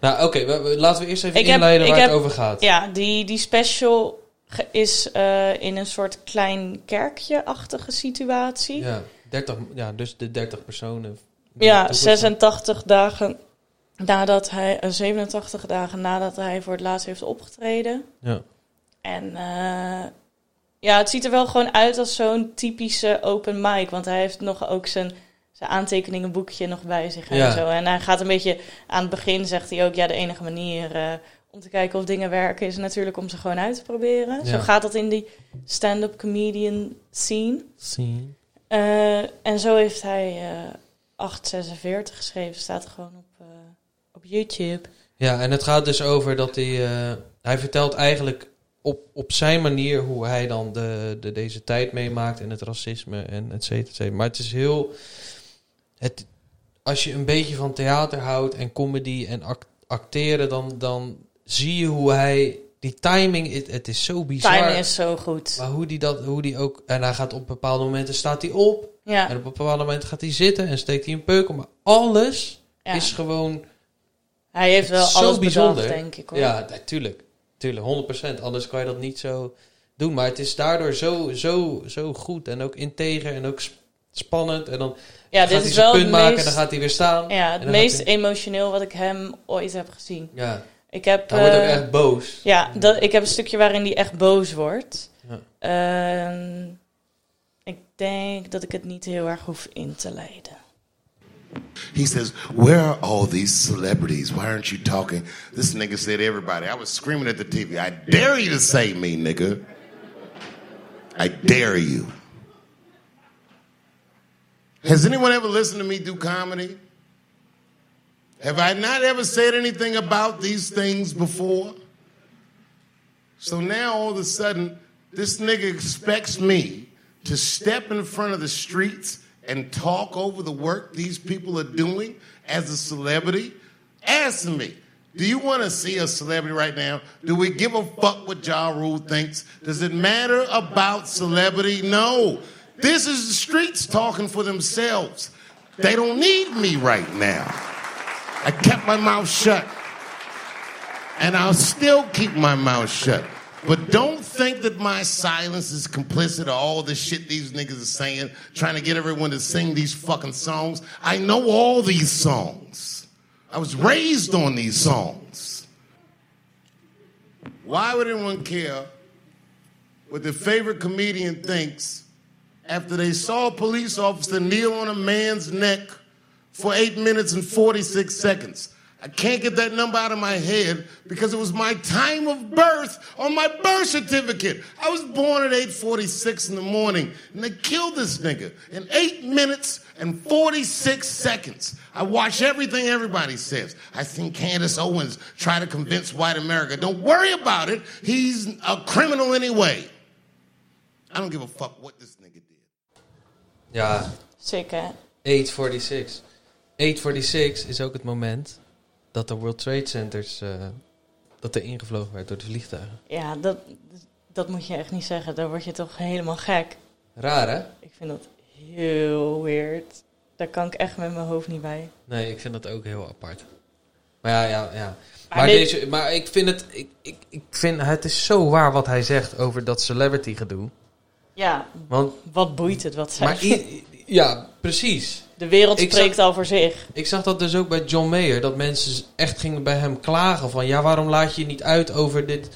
Nou, oké, we- we- laten we eerst even
Ik heb-
inleiden
ik
waar het
heb-
over gaat.
Ja, die, die special ge- is eh, in een soort klein kerkje-achtige situatie.
Ja, 30, ja, dus de 30 personen. die
Ja,
toegestaan-
86 dagen nadat hij, eh, 87 dagen nadat hij voor het laatst heeft opgetreden.
Ja.
En eh, ja, het ziet er wel gewoon uit als zo'n typische open mic. Want hij heeft nog ook zijn, zijn aantekeningenboekje nog bij zich en
Ja.
zo. En hij gaat een beetje aan het begin, zegt hij ook, ja, de enige manier eh, om te kijken of dingen werken is natuurlijk om ze gewoon uit te proberen. Zo
Ja.
gaat dat in die stand-up comedian scene.
Scene.
Eh, en zo heeft hij eh 846 geschreven. Staat gewoon op, eh, op YouTube.
Ja, en het gaat dus over dat hij. eh, hij vertelt eigenlijk op, op zijn manier hoe hij dan de, de, deze tijd meemaakt en het racisme en et cetera, et cetera. Maar het is heel. Het, als je een beetje van theater houdt en comedy en act- acteren, dan, dan zie je hoe hij. Die timing, het, het is zo bizar.
Timing is zo goed.
Maar hoe die dat, hoe die ook. En hij gaat op bepaalde momenten staat hij op. En
Ja,
op bepaalde momenten gaat hij zitten en steekt hij een peuk op. Maar alles
ja.
is gewoon
hij heeft wel
zo
alles bedacht,
bijzonder.
denk ik. Hoor.
Ja, natuurlijk. Tuurlijk, 100%. Anders kan je dat niet zo doen. Maar het is daardoor zo, zo, zo goed. En ook integer en ook sp- spannend. En dan
Ja,
gaat
dit
hij
is
zijn
wel
punt
het
maken en
meest,
dan gaat hij weer staan. Ja,
ja, het
dan
meest
gaat
emotioneel wat ik hem ooit heb gezien. Ik heb,
hij wordt ook
eh,
echt boos.
Ja, dat, ik heb een stukje waarin hij echt boos wordt.
Ja.
Ehm, ik denk dat ik het niet heel erg hoef in te leiden.
He says, Where are all these celebrities? Why aren't you talking? This nigga said, Everybody. I was screaming at the TV, I dare you to say me, nigga. I dare you. Has anyone ever listened to me do comedy? Have I not ever said anything about these things before? So now all of a sudden, this nigga expects me to step in front of the streets and talk over the work these people are doing as a celebrity? Ask me, do you want to see a celebrity right now? Do we give a fuck what Ja Rule thinks? Does it matter about celebrity? No. This is the streets talking for themselves. They don't need me right now. I kept my mouth shut and I'll still keep my mouth shut. But don't think that my silence is complicit of all the shit these niggas are saying, trying to get everyone to sing these fucking songs. I know all these songs. I was raised on these songs. Why would anyone care what their favorite comedian thinks after they saw a police officer kneel on a man's neck for eight minutes and 46 seconds? I can't get that number out of my head because it was my time of birth on my birth certificate. I was born at 8:46 in the morning, and they killed this nigga in eight minutes and 46 seconds. I watch everything everybody says. I seen Candace Owens try to convince white America. Don't worry about it. He's a criminal anyway. I don't give a fuck what this nigga did.
Ja,
Zeker.
846. 846 is ook het moment dat de World Trade Centers eh, dat er ingevlogen werd door de vliegtuigen.
Ja, dat, dat moet je echt niet zeggen. Daar word je toch helemaal gek.
Raar, hè?
Ik vind dat heel weird. Daar kan ik echt met mijn hoofd niet bij.
Nee, ik vind dat ook heel apart. Maar ja, ja, ja. Maar,
nee-
deze, maar ik vind het... Ik, ik, ik vind, het is zo waar wat hij zegt over dat celebrity gedoe.
Ja,
Want,
wat boeit het wat zij
maar i- ja, precies.
De wereld
Ik
spreekt al voor zich.
Ik zag dat dus ook bij John Mayer. Dat mensen echt gingen bij hem klagen van... Ja, waarom laat je je niet uit over dit,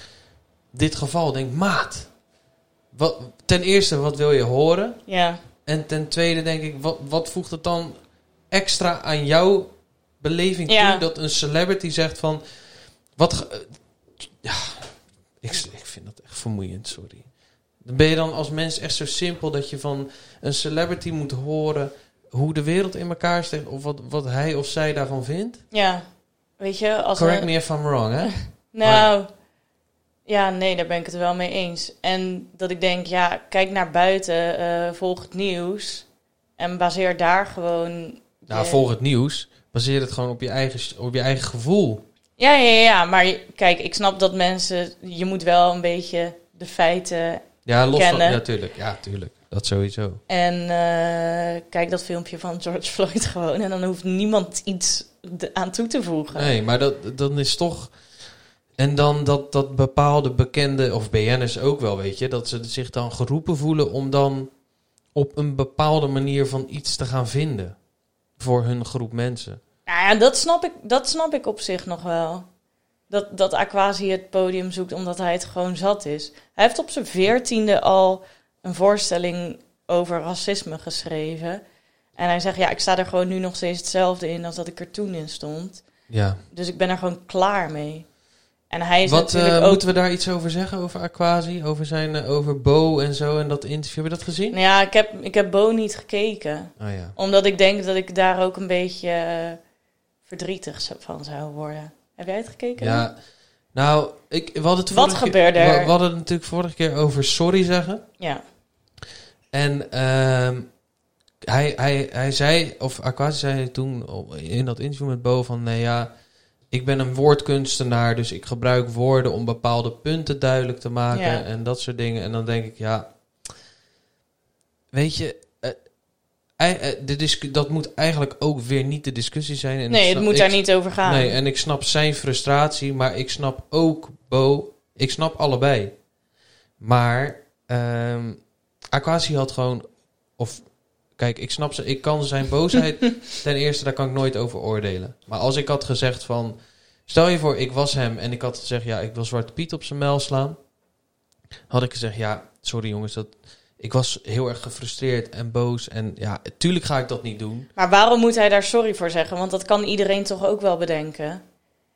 dit geval? Ik Denk, maat. Wat, ten eerste, wat wil je horen?
Ja,
En ten tweede denk ik, wat, wat voegt het dan extra aan jouw beleving
Ja.
toe... dat een celebrity zegt van... Wat... ge- eh, ja, ik, ik vind dat echt vermoeiend, sorry. Ben je dan als mens echt zo simpel dat je van een celebrity moet horen... hoe de wereld in elkaar steekt of wat, wat hij of zij daarvan vindt?
ja. Weet je, als
Correct
een-
me if I'm wrong,
[laughs]
hè?
Nou, ja, nee, daar ben ik het wel mee eens. En dat ik denk, ja, kijk naar buiten, eh, volg het nieuws en baseer daar gewoon.
Nou,
je-
volg het nieuws. Baseer het gewoon op je eigen, op je eigen gevoel.
Ja, ja, ja, ja, maar je- kijk, ik snap dat mensen, je moet wel een beetje de feiten.
Ja, los
Kennen.
van... Natuurlijk, ja, tuurlijk. Dat sowieso.
En eh, kijk dat filmpje van [laughs] George Floyd gewoon. En dan hoeft niemand iets de- aan toe te voegen.
Nee, maar dat, dan is toch. En dan dat, dat bepaalde bekende, of BN'ers ook wel, weet je, dat ze zich dan geroepen voelen om dan op een bepaalde manier van iets te gaan vinden. Voor hun groep mensen.
Nou ja, dat snap ik, dat snap ik op zich nog wel. Dat, dat Aquasi het podium zoekt omdat hij het gewoon zat is. Hij heeft op zijn veertiende al een voorstelling over racisme geschreven. En hij zegt, ja, ik sta er gewoon nu nog steeds hetzelfde in als dat ik er toen in stond.
Ja.
Dus ik ben er gewoon klaar mee. En hij is
Wat
natuurlijk
eh,
ook...
moeten we daar iets over zeggen? Over Aquasi, over zijn, eh, over Bo en zo en dat interview. Heb je dat gezien?
Nou ja, ik heb, ik heb Bo niet gekeken.
Oh ja.
Omdat ik denk dat ik daar ook een beetje eh, verdrietig zo- van zou worden. Heb jij het gekeken?
Ja. Nou, ik, we hadden het
Wat
vorige keer-
gebeurde er?
We, we hadden het natuurlijk vorige keer over sorry zeggen.
Ja.
En ehm, hij, hij, hij zei, of Aquasi zei toen in dat interview met Bo van... Nee ja, ik ben een woordkunstenaar, dus ik gebruik woorden om bepaalde punten duidelijk te maken.
Ja.
En dat soort dingen. En dan denk ik, ja... Weet je, eh, ei- eh, de discu- dat moet eigenlijk ook weer niet de discussie zijn. En ik
Nee, het
snap-
moet
ik-
daar niet over gaan.
Nee, eh, en ik snap zijn frustratie, maar ik snap ook Bo. Ik snap allebei. Maar ehm Aquasi had gewoon. Of kijk, ik snap ze. Ik kan zijn boosheid. ten eerste, daar kan ik nooit over oordelen. Maar als ik had gezegd van. Stel je voor, ik was hem en ik had gezegd: ja, ik wil Zwarte Piet op zijn mel slaan. Had ik gezegd: ja, sorry jongens, dat. Ik was heel erg gefrustreerd en boos. En ja, tuurlijk ga ik dat niet doen.
Maar waarom moet hij daar sorry voor zeggen? Want dat kan iedereen toch ook wel bedenken.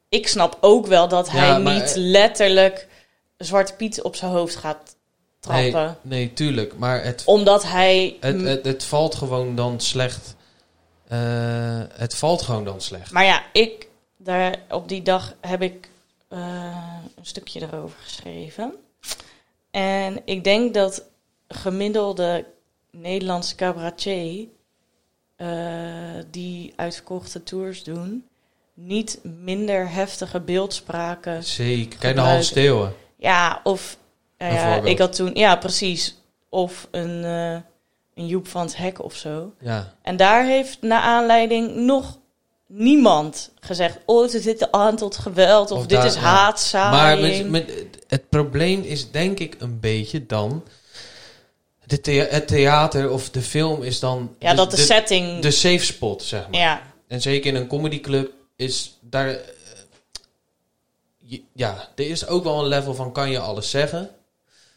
Ik snap ook wel dat hij
Ja, maar- eh,
niet letterlijk Zwarte Piet op zijn hoofd gaat trappen.
Nee, nee, tuurlijk. Maar het,
Omdat hij...
het,
m-
het, het valt gewoon dan slecht. Eh, het valt gewoon dan slecht.
Maar ja, ik, daar, op die dag heb ik eh, een stukje erover geschreven. En ik denk dat gemiddelde Nederlandse cabaretier... eh, die uitverkochte tours doen... niet minder heftige beeldspraken...
Zeker. Kijk naar
Gebruiken.
Hans Steeuwen.
Ja, of... nou
Een
ja,
voorbeeld.
ik had toen... Ja, precies. Of een, eh, een Joep van het Hek of zo...
Ja.
En daar heeft naar aanleiding nog niemand gezegd... oh, ze zitten aan tot geweld of,
Of
dit
daar-
is
ja. Maar
haatzaaiing.
met, met- het probleem is denk ik een beetje dan... De thea- het theater of de film is dan...
ja,
de,
dat de,
de,
setting...
de safe spot, zeg maar.
ja,
En zeker in een comedyclub is daar... eh, je- ja, er is ook wel een level van kan je alles zeggen.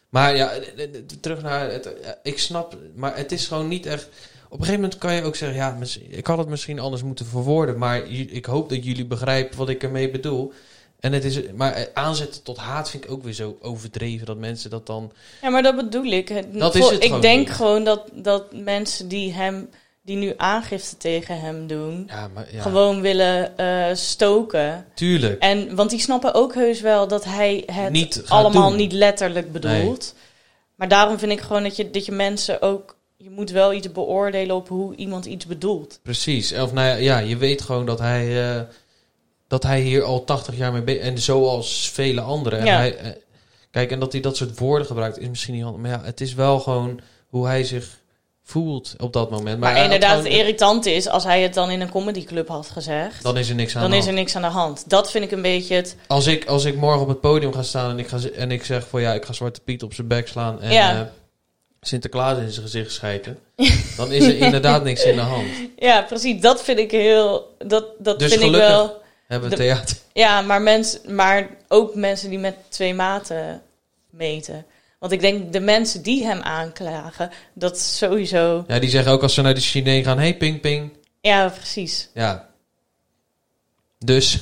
Maar ja, eh, eh, terug naar... Het, eh, ik snap, maar het is gewoon niet echt... Op een gegeven moment kan je ook zeggen... Ja, mis- ik had het misschien anders moeten verwoorden... maar j- ik hoop dat jullie begrijpen wat ik ermee bedoel... En het is, maar eh, aanzetten tot haat vind ik ook weer zo overdreven dat mensen dat dan.
ja, maar dat bedoel ik. Het-
Dat is
voor-
het
ik
gewoon
denk
niet.
gewoon dat, dat mensen die hem... die nu aangifte tegen hem doen...
Ja, maar ja,
gewoon willen eh, stoken.
tuurlijk.
En, want die snappen ook heus wel dat hij het
Niet gaat
allemaal
doen.
niet letterlijk bedoelt. Maar daarom vind ik gewoon dat je, dat je mensen ook... Je moet wel iets beoordelen op hoe iemand iets bedoelt.
Precies. Of nou ja, ja, je weet gewoon dat hij, eh, dat hij hier al 80 jaar mee bezig En zoals vele anderen. En
Ja.
hij, eh, kijk, en dat hij dat soort woorden gebruikt is misschien niet handig. Maar ja, het is wel gewoon hoe hij zich voelt op dat moment.
Maar,
hij had
inderdaad, het
gewoon-
irritant is als hij het dan in een comedyclub had gezegd. Dan,
Dan is er niks aan de
is er
hand.
niks aan de hand. Dat vind ik een beetje het...
Als, ik, als ik morgen op het podium ga staan en ik, ga, z- en ik zeg van ja, ik ga Zwarte Piet op zijn bek slaan. En
Ja.
eh, Sinterklaas in zijn gezicht
[laughs]
schijten. dan is er inderdaad niks in de hand.
Ja, precies. Dat vind ik heel... Dat, dat
Dus
vind
gelukkig-
ik wel...
Hebben
De-
we theater.
Ja, maar, mens, maar ook mensen die met twee maten meten. Want ik denk, de mensen die hem aanklagen, dat is sowieso...
Ja, die zeggen ook als ze naar de Chinees gaan: hey, ping ping.
Ja, precies.
Ja.
[laughs]
Dus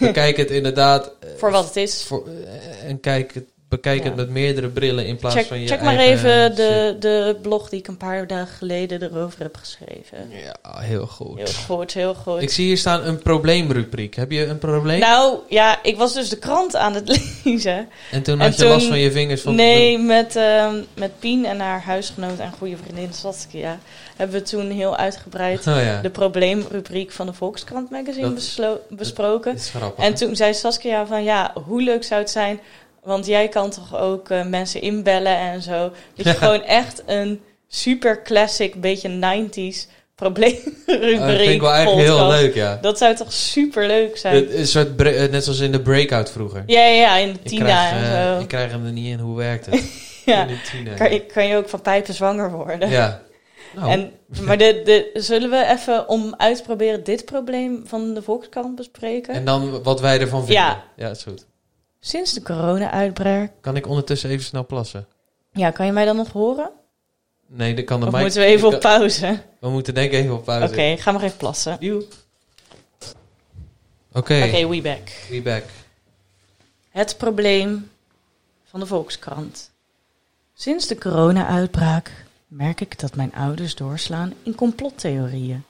bekijk het inderdaad. eh,
Voor wat het is.
voor- eh, en kijk het, bekijk
Ja.
het met meerdere brillen in plaats
Check,
van je.
check maar
eigen
even
shit.
de, de blog die ik een paar dagen geleden erover heb geschreven.
Ja, heel goed.
Heel goed, heel goed.
Ik zie hier staan een probleemrubriek. Heb je een probleem?
Nou, ja, ik was dus de krant aan het [laughs] lezen.
en toen
en
had je last
toen-
van je vingers van.
Nee, met, ehm, met Pien en haar huisgenoot en goede vriendin Saskia... hebben we toen heel uitgebreid
Oh ja.
de probleemrubriek van de Volkskrant magazine
Dat-
beslo-
Dat
besproken.
is grappig.
En toen zei Saskia van ja, hoe leuk zou het zijn, want jij kan toch ook eh, mensen inbellen en zo. Dat je gewoon echt een super classic, beetje 90s probleemrubriek.
dat vind Oh, ik wel eigenlijk heel
podcast.
leuk, ja.
Dat zou toch super leuk zijn?
Het is Een soort bre- eh, net zoals in de breakout vroeger.
Ja, ja, ja, in de
Ik
Tina
krijg,
en
eh,
zo.
ik krijg hem er niet in. Hoe werkt het?
[laughs] ja.
In de Tina.
kan, je- kan je ook van pijpen zwanger worden?
Ja. Nou,
[laughs] En, maar de, de, zullen we even om uit te proberen dit probleem van de Volkskrant bespreken?
en dan wat wij ervan vinden.
Ja.
ja, is goed.
Sinds de corona-uitbraak.
Kan ik ondertussen even snel plassen?
Ja, kan je mij dan nog horen?
Nee, dat kan de
Of
mic-
moeten we even
ik kan-
op pauze? Oké,
We moeten denk ik even op pauze.
ga maar even plassen. Oké,
Joe. Oké,
we back.
we back.
Het probleem van de Volkskrant. Sinds de corona-uitbraak merk ik dat mijn ouders doorslaan in complottheorieën.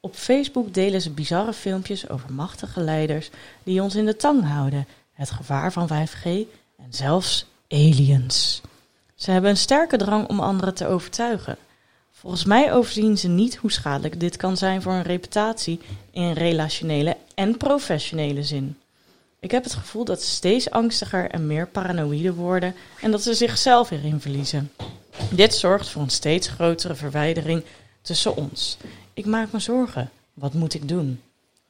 Op Facebook delen ze bizarre filmpjes over machtige leiders die ons in de tang houden, het gevaar van 5G en zelfs aliens. Ze hebben een sterke drang om anderen te overtuigen. Volgens mij overzien ze niet hoe schadelijk dit kan zijn voor hun reputatie in relationele en professionele zin. Ik heb het gevoel dat ze steeds angstiger en meer paranoïde worden en dat ze zichzelf erin verliezen. Dit zorgt voor een steeds grotere verwijdering tussen ons. Ik maak me zorgen. Wat moet ik doen?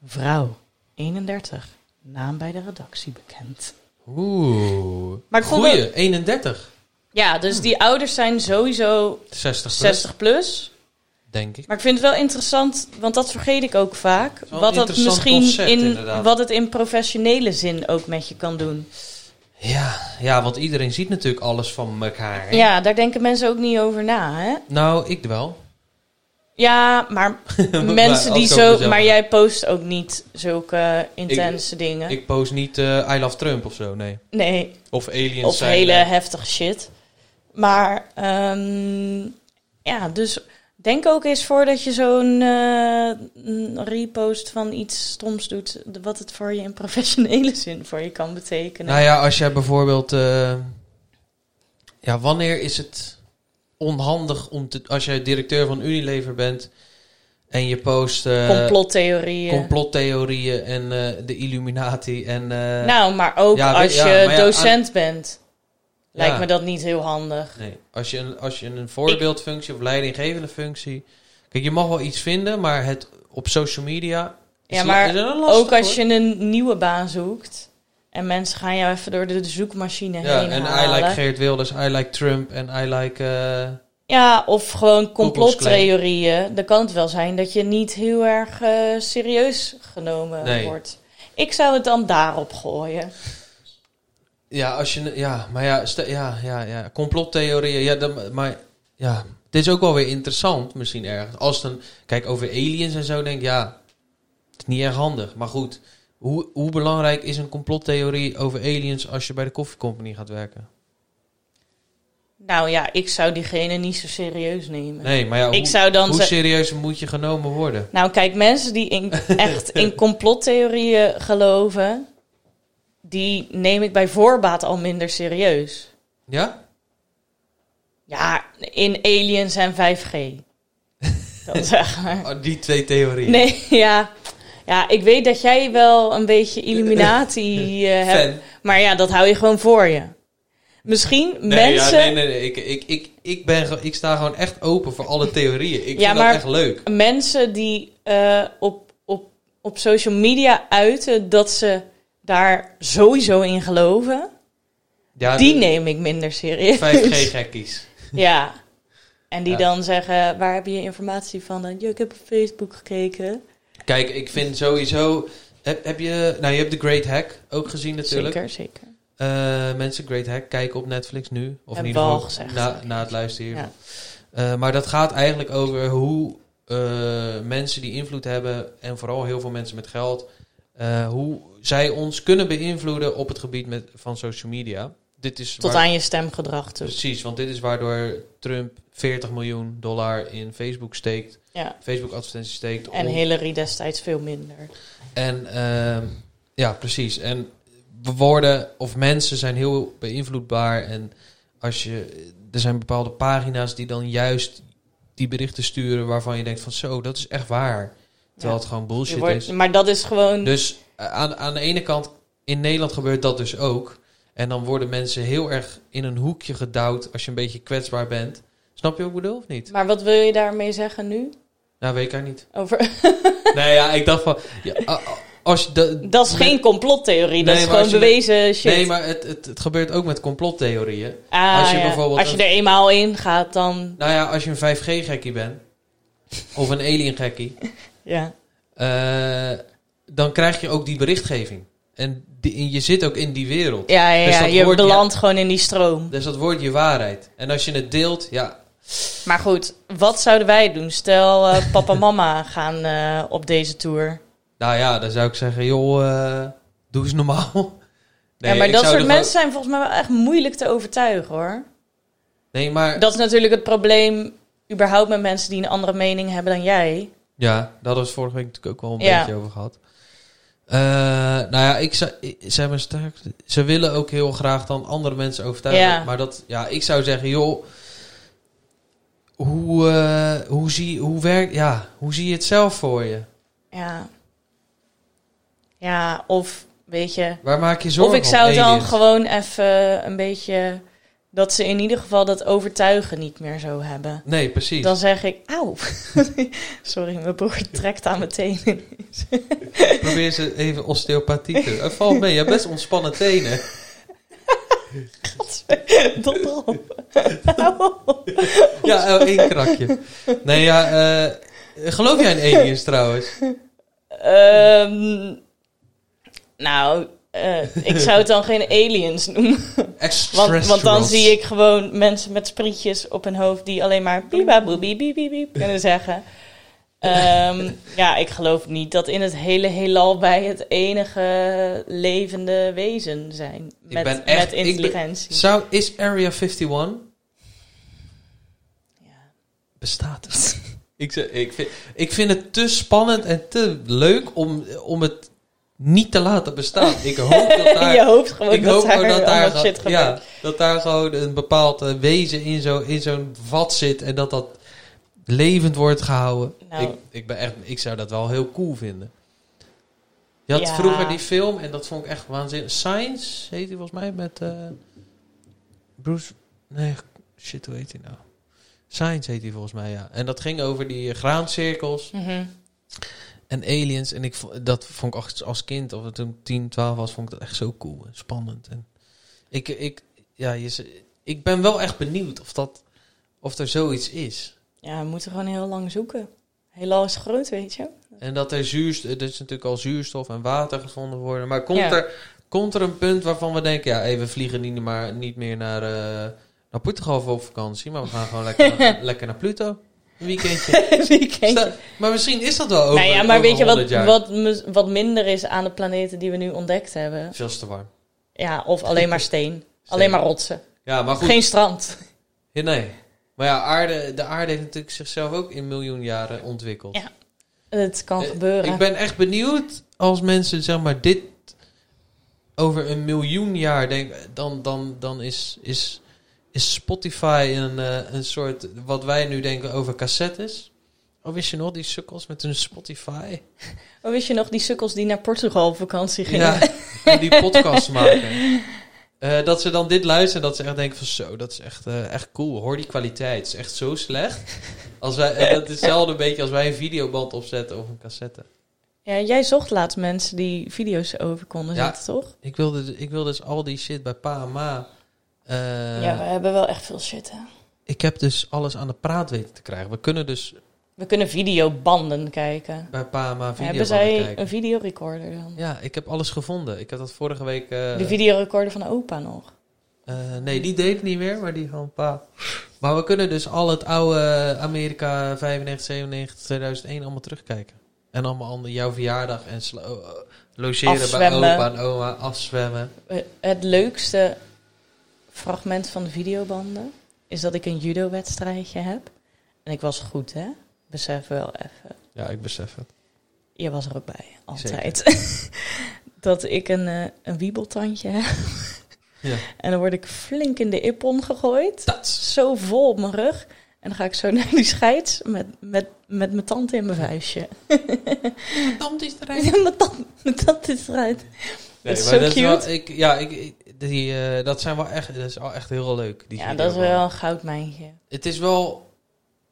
Vrouw, 31, naam bij de redactie bekend.
Oeh.
Maar ik vond
Goeie, 31.
Ja, dus die ouders zijn sowieso
60 plus,
60 plus.
denk ik.
Maar ik vind het wel interessant, want dat vergeet ik ook vaak.
wel een
Wat het
interessant
misschien
concept,
in
inderdaad.
wat het in professionele zin ook met je kan doen.
Ja, ja, want iedereen ziet natuurlijk alles van elkaar. hè?
Ja, daar denken mensen ook niet over na, hè?
Nou, ik wel. [laughs]
Ja, maar mensen
als dus ik
die
over
zo...
mezelf
Maar
heb.
jij post ook niet zulke intense dingen.
Ik post niet eh, I love Trump of zo, nee.
nee,
Of aliens
of
zijn...
hele
eh,
heftige shit. Maar ehm, ja, dus denk ook eens voordat je zo'n eh, een repost van iets stoms doet, de- wat het voor je in professionele [laughs] zin voor je kan betekenen.
Nou ja, als jij bijvoorbeeld. eh, ja, wanneer is het onhandig om te. Als jij directeur van Unilever bent en je post. eh,
Complottheorieën.
complottheorieën en eh, de Illuminati en. eh,
nou, maar ook
Ja, we-
als
ja,
je
maar ja,
docent bent, lijkt
ja.
me dat niet heel handig.
Nee, als je, een, als je een voorbeeldfunctie of leidinggevende functie. Kijk, je mag wel iets vinden, maar het op social media. is
Ja,
la-
maar
is er een lastig,
Ook als
hoor.
je een nieuwe baan zoekt en mensen gaan jou even door de zoekmachine
Ja,
heen
en I
halen.
like Geert Wilders, I like Trump en I like. eh,
Ja, of gewoon
Klux Klan.
complottheorieën. Dan kan het wel zijn dat je niet heel erg eh, serieus genomen
Nee.
wordt. Ik zou het dan daarop gooien.
Ja, als je, ja maar ja, stel- ja, ja, ja complottheorieën. Ja, dan, maar ja, dit is ook wel weer interessant misschien ergens. Als dan, kijk, over aliens en zo denk ik, ja, het is niet erg handig. Maar goed, hoe, hoe belangrijk is een complottheorie over aliens als je bij de koffiecompany gaat werken?
Nou ja, ik zou diegene niet zo serieus nemen.
Nee, maar ja, hoe,
ik zou dan
hoe
ze-
serieus moet je genomen worden?
Nou kijk, mensen die
[laughs]
in, echt in complottheorieën geloven... die neem ik bij voorbaat al minder serieus.
Ja?
Ja, in aliens en 5G. Dat zeg maar.
Oh, die twee theorieën.
Nee, ja. Ja, ik weet dat jij wel een beetje Illuminati
[laughs]
eh,
Fan.
hebt. Maar ja, dat hou je gewoon voor je. Misschien
Nee, ja,
mensen...
nee, nee, nee. Ik, ik, ik, ik, ben, ge- ik sta gewoon echt open voor alle theorieën. Ik
Ja,
vind
maar-
dat echt leuk.
mensen die eh, op, op, op social media uiten dat ze daar sowieso in geloven,
Ja,
die
de-
neem ik minder serieus.
5G-gekkies.
[laughs] Ja. En die
Ja.
dan zeggen, waar heb je informatie van? Dan, "Ja, ik heb op Facebook gekeken.
Kijk, ik vind sowieso. Heb, heb je. Nou, je hebt de Great Hack ook gezien, natuurlijk.
Zeker, zeker.
Eh, mensen, Great Hack kijken op Netflix nu. Of in
Hebben
ieder
we al
geval
gezegd.
na, na het luisteren.
Ja.
Eh, maar dat gaat eigenlijk over hoe eh, mensen die invloed hebben. en vooral heel veel mensen met geld. eh, hoe zij ons kunnen beïnvloeden op het gebied met, van social media. Dit is
Tot
waar-
aan je stemgedrag toe.
Precies, want dit is waardoor Trump 40 miljoen dollar in Facebook steekt.
Ja.
Facebook advertenties steekt.
En
om-
Hillary destijds veel minder.
En ehm, ja, precies. En we worden, of mensen zijn heel beïnvloedbaar. En als je, er zijn bepaalde pagina's die dan juist die berichten sturen waarvan je denkt van zo, dat is echt waar. Terwijl
Ja.
het gewoon
Je
bullshit
wordt-
is.
Maar dat is gewoon.
Dus eh, aan, aan de ene kant, in Nederland gebeurt dat dus ook. En dan worden mensen heel erg in een hoekje gedouwd als je een beetje kwetsbaar bent. Snap je wat ik bedoel of niet?
Maar wat wil je daarmee zeggen nu?
Nou, weet ik eigenlijk niet.
Over... [laughs]
nee, ja, ik dacht van... Ja, a- a- als je da-
Dat is geen complottheorie, dat
Nee,
is
maar
gewoon
als je-
bewezen shit.
Nee, maar het, het, het gebeurt ook met complottheorieën.
Ah,
als je
ja.
bijvoorbeeld
als je
een-
er eenmaal in gaat, dan.
Nou ja, als je een 5G-gekkie bent, of een alien-gekkie,
Ja.
eh, dan krijg je ook die berichtgeving. En die, en je zit ook in die wereld.
Ja, ja,
Dus
ja,
dat
je
hoort-
belandt gewoon in die stroom.
Dus dat wordt je waarheid. En als je het deelt, ja,
Maar goed, wat zouden wij doen? Stel,
[laughs]
eh, papa en mama gaan eh, op deze tour.
nou ja, dan zou ik zeggen, joh, eh, doe eens normaal. [laughs] Nee,
ja, maar
ik
dat
zou
soort
er
mensen zijn volgens mij wel echt moeilijk te overtuigen hoor.
gewoon- Nee, maar
Dat is natuurlijk het probleem, überhaupt met mensen die een andere mening hebben dan jij.
ja, daar hadden we het vorige week natuurlijk ook wel een
Ja.
beetje over gehad. Eh, nou ja, ik zou, ik- ze, hebben sterk, ze willen ook heel graag dan andere mensen overtuigen.
Ja.
Maar dat, ja, ik zou zeggen, joh, hoe, eh, hoe, zie, hoe, werkt, ja, hoe zie je het zelf voor je?
Ja. Ja, of weet je,
Waar maak je zorgen
of ik zou
om?
dan
aliens?
gewoon even een beetje. dat ze in ieder geval dat overtuigen niet meer zo hebben.
Nee, precies.
Dan zeg ik, auw. [laughs] Sorry, mijn broer trekt aan mijn tenen.
Probeer ze even osteopathie te doen. Valt mee, je hebt best ontspannen tenen.
Donder op. [laughs] Hou op.
Ja, oh, één krakje. Nee, ja, eh, geloof jij in aliens trouwens?
Ehm, nou, eh, ik zou het dan geen aliens noemen. Want, want dan
Extraterrestrials.
zie ik gewoon mensen met sprietjes op hun hoofd die alleen maar biba boebi biep biep biep kunnen zeggen. Ehm, ja, ik geloof niet dat in het hele heelal wij het enige levende wezen zijn met,
ben echt-
met
ik ben-
intelligentie.
Zou, is Area 51 bestaat het. [laughs] ik, zeg- ik, vind, ik vind het te spannend en te leuk om, om het niet te laten bestaan. Ik hoop [laughs]
[laughs]
dat daar...
je hoopt gewoon
ik
dat
hoop
daar,
gewoon dat daar,
allemaal shit
gewoon-
gebeurt.
ja, dat daar gewoon een bepaald eh, wezen in zo'n in zo'n vat zit en dat dat levend wordt gehouden.
Nou.
Ik, ik, ben echt, ik zou dat wel heel cool vinden. Je had
Ja.
vroeger die film en dat vond ik echt waanzinnig. Science heet hij volgens mij met eh, Bruce. Nee, shit, hoe heet hij nou? Science heet hij volgens mij, ja. En dat ging over die eh, graancirkels
Mhm.
en aliens. En ik, vo- dat vond ik als, als kind, of toen 10, 12 was, vond ik dat echt zo cool en spannend. En ik, ik, ja, je, z- ik ben wel echt benieuwd of, dat, of er zoiets is.
Ja, we moeten gewoon heel lang zoeken. Heelal is groot, weet je.
En dat er zuurstof, er is natuurlijk al zuurstof en water gevonden worden. Maar komt,
Ja.
er, komt er een punt waarvan we denken, ja, hey, we vliegen niet, maar, niet meer naar, eh, naar Portugal voor op vakantie. Maar we gaan gewoon lekker,
[laughs]
naar- lekker naar Pluto. Een weekendje. [laughs]
Weekendje.
Stel- maar misschien is dat wel over,
Nou ja, maar
over
weet je
100
wat,
jaar.
wat, mis- wat minder is aan de planeten die we nu ontdekt hebben?
Veel te warm.
Ja, of alleen maar steen.
Steen.
Alleen maar rotsen.
Ja, maar goed.
Geen strand.
Ja, nee. Maar ja, aarde, de aarde heeft natuurlijk zichzelf ook in miljoen jaren ontwikkeld.
Ja, Het kan
Eh,
gebeuren.
Ik ben echt benieuwd als mensen zeg maar dit over een miljoen jaar denken, dan, dan, dan is, is, is Spotify een, eh, een soort wat wij nu denken over cassettes. Oh, wist je nog die sukkels met hun Spotify?
Oh, wist je nog die sukkels die naar Portugal op vakantie gingen?
Ja, en die podcast maken. Eh, dat ze dan dit luisteren en dat ze echt denken van zo, dat is echt, eh, echt cool. Hoor die kwaliteit, het is echt zo slecht. Als wij, en dat is hetzelfde een beetje als wij een videoband opzetten of een cassette.
Ja, jij zocht laatst mensen die video's over konden
Ja.
zetten, toch?
Ik wilde, ik wilde dus al die shit bij pa en ma. eh,
ja, we hebben wel echt veel shit, hè.
Ik heb dus alles aan de praat weten te krijgen. We kunnen dus
We kunnen videobanden kijken.
bij pa en ma
hebben
videobanden
zij
kijken.
een videorecorder dan?
Ja, ik heb alles gevonden. Ik heb dat vorige week... eh,
de videorecorder van opa nog.
Eh, nee, die deed ik niet meer, maar die van pa. Maar we kunnen dus al het oude Amerika 95, 97, 2001 allemaal terugkijken. En allemaal andere, jouw verjaardag en sla- eh, logeren bij
Afzwemmen.
opa en oma, afzwemmen.
Eh, Het leukste fragment van de videobanden is dat ik een judo-wedstrijdje heb. En ik was goed, hè? Besef wel even.
Ja, ik besef het.
Je was er ook bij, altijd. [laughs] dat ik een, eh, een wiebeltandje heb.
[laughs] Ja.
En dan word ik flink in de ippon gegooid.
Dat.
Zo vol op mijn rug. En dan ga ik zo [laughs] naar die scheids met, met, met mijn tand in mijn vuistje.
Tand is
[laughs]
eruit.
mijn, tand, mijn tand is eruit. Dat is zo
dat
cute.
wel- ik, ja, ik, ik- die, eh, dat zijn wel echt, dat is wel echt heel leuk. Die
Ja,
video
dat is
gewoon.
wel een goudmijntje.
Het is wel...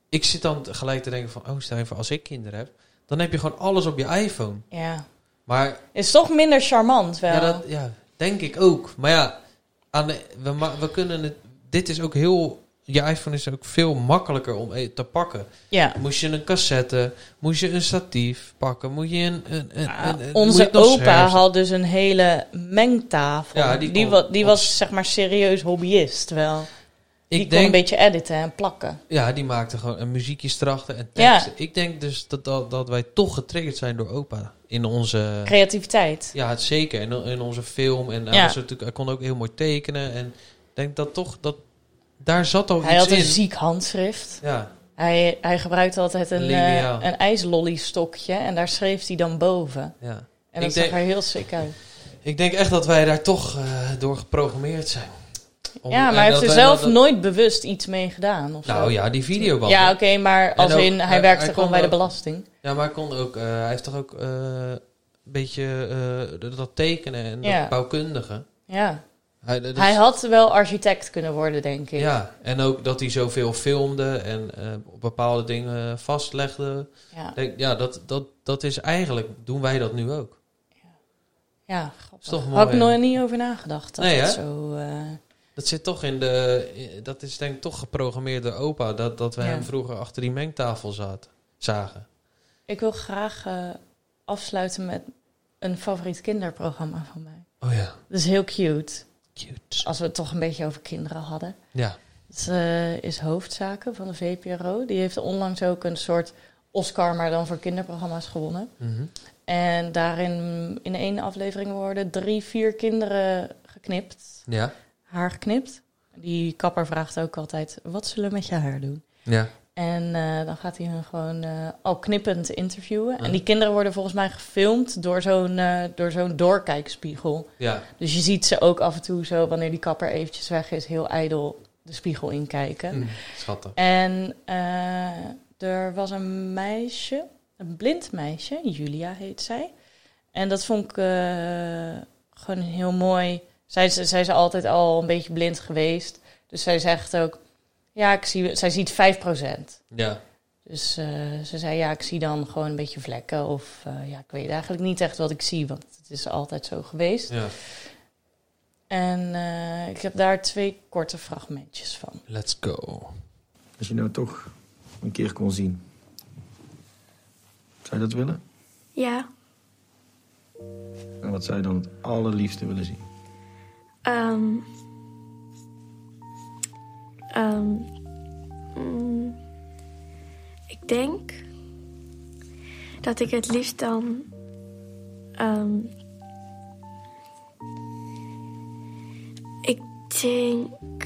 Ik zit dan gelijk te denken van, oh stel je voor als ik kinderen heb, dan heb je gewoon alles op je iPhone.
Ja.
Maar
Is toch minder charmant wel.
Ja, dat, ja, denk ik ook. Maar ja, aan de- we, ma- we kunnen het. Dit is ook heel. Je iPhone is ook veel makkelijker om e- te pakken.
ja.
Moest je een cassette, moest je een statief pakken, moet je een. een, een,
Ah,
een- een- eh, moet je
onze
het nog
opa
scherp-
had dus een hele mengtafel.
Ja, die
die
kon-
wa- die was
ons-
zeg maar serieus hobbyist wel. Die
Ik
kon een
denk,
beetje editen en plakken.
ja, die maakte gewoon een muziekjes erachter en
Ja.
teksten. Ik denk dus dat, dat, dat wij toch getriggerd zijn door opa in onze.
Creativiteit.
Ja, het zeker. En in onze film. En hij,
Ja.
was natuurlijk, hij kon ook heel mooi tekenen. En ik denk dat toch. Dat, daar zat al
Hij
iets
had een
in.
ziek handschrift.
ja.
Hij, hij gebruikte altijd een, eh
Liniaal.
een ijslollystokje en daar schreef hij dan boven.
ja. Ik
En dat zag
denk-
er heel sick uit.
Ik denk echt dat wij daar toch eh, door geprogrammeerd zijn. Om-
ja,
en
maar hij
dat
heeft er
wij-
zelf
dat-
nooit bewust iets mee gedaan. Of zo.
Nou ja, die videoband.
Ja,
Ja,
oké, maar als
ook-
in, hij
hij-
werkte
hij kon
gewoon bij de
ook-
belasting.
maar hij, kon ook, eh, hij heeft toch ook eh, een beetje eh, dat- dat tekenen en
Ja.
dat bouwkundige.
Ja.
Hij, dat is-
Hij had wel architect kunnen worden, denk ik.
ja, en ook dat hij zoveel filmde en eh, bepaalde dingen vastlegde.
ja.
Ik Denk, ja, dat, dat, dat is eigenlijk, doen wij dat nu ook.
Ja, grappig.
Is toch mooi,
Had ik
hè?
nooit niet over nagedacht. Dat
Nee,
dat
hè?
zo, eh,
Dat zit toch in de, in- dat is denk ik toch geprogrammeerd door opa, dat, dat we
Ja.
hem vroeger achter die mengtafel zaten, zagen.
Ik wil graag eh, afsluiten met een favoriet kinderprogramma van mij.
Oh ja,
Dat is heel cute.
cute.
Als we het toch een beetje over kinderen hadden.
Ja.
Het eh, is Hoofdzaken van de VPRO. Die heeft onlangs ook een soort Oscar, maar dan voor kinderprogramma's gewonnen.
Mhm.
En daarin in één aflevering worden drie, vier kinderen geknipt.
Ja,
Haar geknipt. Die kapper vraagt ook altijd, wat zullen we met je haar doen?
ja.
En eh, dan gaat hij hun gewoon eh, al knippend interviewen. En die kinderen worden volgens mij gefilmd door zo'n eh, door zo'n doorkijkspiegel.
Ja,
Dus je ziet ze ook af en toe zo, wanneer die kapper eventjes weg is, heel ijdel de spiegel inkijken.
hm, schattig.
En eh, er was een meisje, een blind meisje, Julia heet zij. En dat vond ik eh, gewoon heel mooi. Zij, is- zij is altijd al een beetje blind geweest. Dus zij zegt ook, ja, ik zie, zij ziet 5%.
Ja,
Dus eh, ze zei, ja, ik zie dan gewoon een beetje vlekken. Of eh, ja, ik weet eigenlijk niet echt wat ik zie, want het is altijd zo geweest.
ja.
En eh, ik heb daar twee korte fragmentjes van.
Let's go.
Als je nou toch een keer kon zien. Zou je dat willen?
Ja,
En wat zou je dan het allerliefste willen zien?
ehm. Ehm. mm, ik denk dat ik het liefst dan. ehm, ik denk.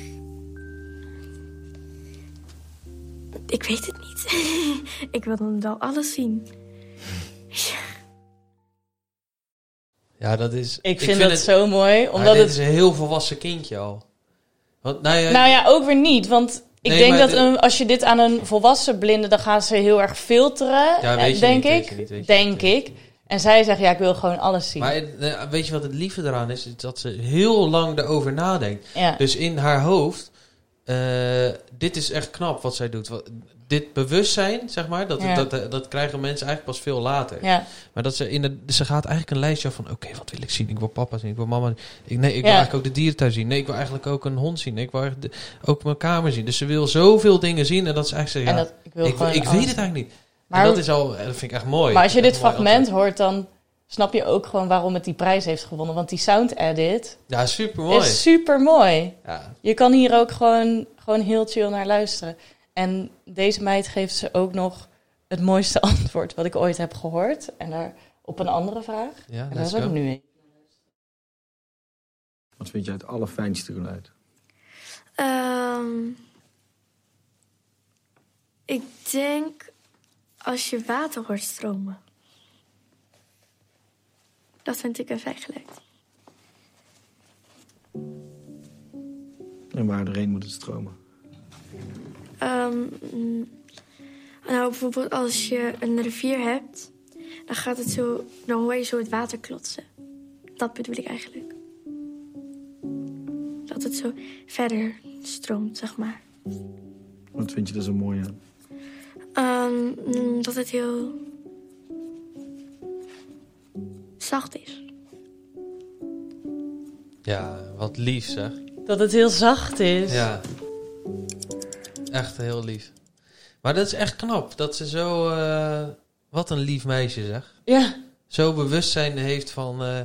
Ik weet het niet. [laughs] ik wil dan wel alles zien.
Ja, dat is...
Ik vind, dat zo mooi,
maar
omdat
Ah, dit
het...
is een heel volwassen kindje al. Want, nou ja,
Nou ja, ook weer niet, want ik
Nee,
denk
maar
dat
dit-
een, als je dit aan een volwassen blinde, dan gaan ze heel erg filteren,
Ja,
eh,
weet je
denk
niet,
ik.
weet je niet, weet je
denk
niet.
ik. En zij zegt, ja, ik wil gewoon alles zien.
Maar eh, weet je wat het lieve eraan is? Is Dat ze heel lang erover nadenkt.
ja.
Dus in haar hoofd, eh, dit is echt knap wat zij doet. Wat- dit bewustzijn, zeg maar, dat,
Ja.
dat, dat, krijgen mensen eigenlijk pas veel later.
ja.
Maar dat ze, in de, ze gaat eigenlijk een lijstje af van... Oké, wat wil ik zien? Ik wil papa zien, ik wil mama zien. Ik, nee, ik wil
Ja.
eigenlijk ook de dierentuin zien. Nee, ik wil eigenlijk ook een hond zien. Ik wil eigenlijk de- ook mijn kamer zien. Dus ze wil zoveel dingen zien en dat ze eigenlijk
en
zegt... Ja,
dat, ik wil
ik,
gewoon
ik weet
alles.
het eigenlijk niet. Maar,
Maar,
dat, is al, eh, dat vind ik echt mooi.
maar als je
Dat
dit
is echt mooi
fragment hoort, dan snap je ook gewoon waarom het die prijs heeft gewonnen. Want die sound edit
antwoord. Ja, super mooi.
is super mooi.
Ja,
Je kan hier ook gewoon, gewoon heel chill naar luisteren. En deze meid geeft ze ook nog het mooiste [laughs] antwoord wat ik ooit heb gehoord. En daar op een andere vraag.
ja
En daar
let's
is ook
go.
nu een.
Wat vind je het allerfijnste geluid?
Ehm ik denk als je water hoort stromen. Dat vind ik een fijn geluid.
En waar doorheen moet het stromen?
Ehm, mm, nou, bijvoorbeeld als je een rivier hebt, dan, gaat het zo, dan hoor je zo het water klotsen. Dat bedoel ik eigenlijk. Dat het zo verder stroomt, zeg maar.
Wat vind je er zo mooi aan?
Ehm, mm, dat het heel zacht is.
Ja, wat lief zeg.
Dat het heel zacht is.
Ja. Echt heel lief. Maar dat is echt knap. Dat ze zo... eh, wat een lief meisje zeg.
Ja.
Zo bewustzijn heeft van... eh,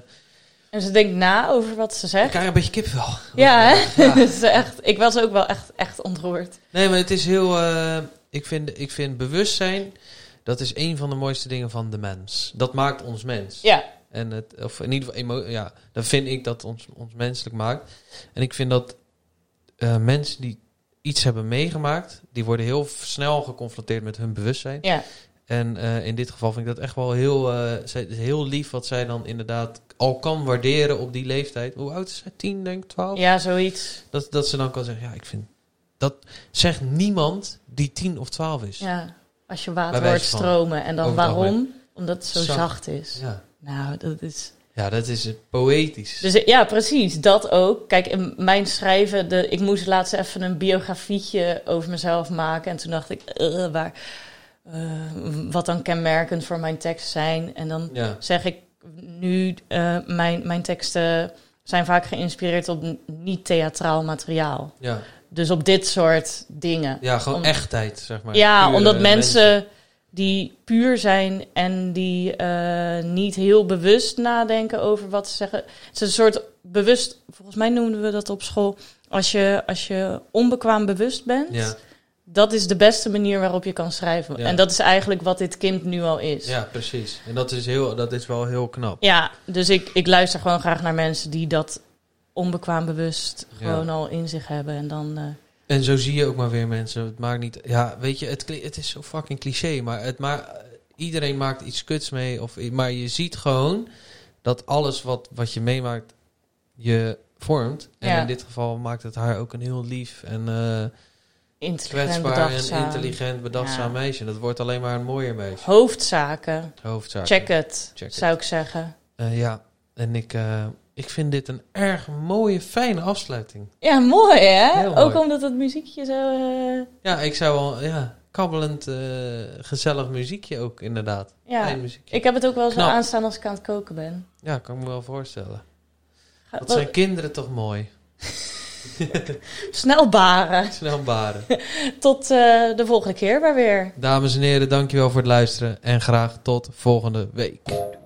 En ze denkt na over wat ze
ik
zegt.
krijg een beetje kipvel.
Ja, hè? [laughs] Dus echt, ik was ook wel echt, echt ontroerd.
Nee, maar het is heel... eh, ik, vind, ik vind bewustzijn... Dat is een van de mooiste dingen van de mens. Dat maakt ons mens.
Ja.
En het, of in ieder geval, emo- ja, dan vind ik dat ons, ons menselijk maakt. En ik vind dat eh, mensen die iets hebben meegemaakt, die worden heel f- snel geconfronteerd met hun bewustzijn.
Ja.
En eh, in dit geval vind ik dat echt wel heel, eh, zij- het is heel lief wat zij dan inderdaad al kan waarderen op die leeftijd. Hoe oud is zij? 10, denk ik, 12?
ja, zoiets.
Dat, dat ze dan kan zeggen, ja, ik vind... Dat zegt niemand die 10 of 12 is.
Ja. Als je
Bij
water
wijze
hoort
van.
stromen. En dan
Over het
waarom? Omdat het zo
Zacht.
zacht, is.
ja.
Nou, dat is...
Ja, dat is eh, poëtisch.
Dus ja, precies. Dat ook. Kijk, in mijn schrijven... De, ik moest laatst even een biografietje over mezelf maken. En toen dacht ik... eh, waar, eh, wat dan kenmerkend voor mijn tekst zijn. En dan
ja.
zeg ik nu, eh, mijn, mijn teksten zijn vaak geïnspireerd op n- niet-theatraal materiaal.
Ja.
Dus op dit soort dingen.
ja, gewoon
Om-
echtheid, zeg maar.
ja,
Pure
omdat mensen, die puur zijn en die eh, niet heel bewust nadenken over wat ze zeggen. Het is een soort bewust, volgens mij noemden we dat op school. Als je, als je onbekwaam bewust bent,
Ja,
dat is de beste manier waarop je kan schrijven.
Ja.
En dat is eigenlijk wat dit kind nu al is.
ja, precies. En dat is, heel, dat is wel heel knap.
Ja, dus ik, ik luister gewoon graag naar mensen die dat onbekwaam bewust
Ja.
gewoon al in zich hebben. En dan eh,
En zo zie je ook maar weer mensen. Het maakt niet. Ja, weet je, het, kli- het is zo fucking cliché. Maar het ma iedereen maakt iets kuts mee. Of, i- maar je ziet gewoon dat alles wat, wat je meemaakt je vormt. En
Ja.
in dit geval maakt het haar ook een heel lief en eh,
Intelligent,
kwetsbaar en
bedachtzaam.
intelligent, bedachtzaam
Ja.
meisje. Dat wordt alleen maar een mooier meisje.
Hoofdzaken.
Hoofdzaak.
Check het,
Check it.
zou ik zeggen.
Eh, ja, en ik, eh, ik vind dit een erg mooie, fijne afsluiting.
Ja, mooi hè?
Heel
Ook
mooi.
omdat dat muziekje zo... eh,
Ja, ik zou wel, ja, kabbelend, eh, gezellig muziekje ook inderdaad.
ja.
Fijn muziekje.
Ik heb het ook wel zo
Knap.
aanstaan als ik aan het koken ben.
Ja, kan ik me wel voorstellen.
Ga-
Dat
wel-
zijn kinderen toch mooi.
Snel baren.
Snel baren. [laughs]
Tot eh, de volgende keer maar weer.
Dames en heren, dankjewel voor het luisteren. En graag tot volgende week.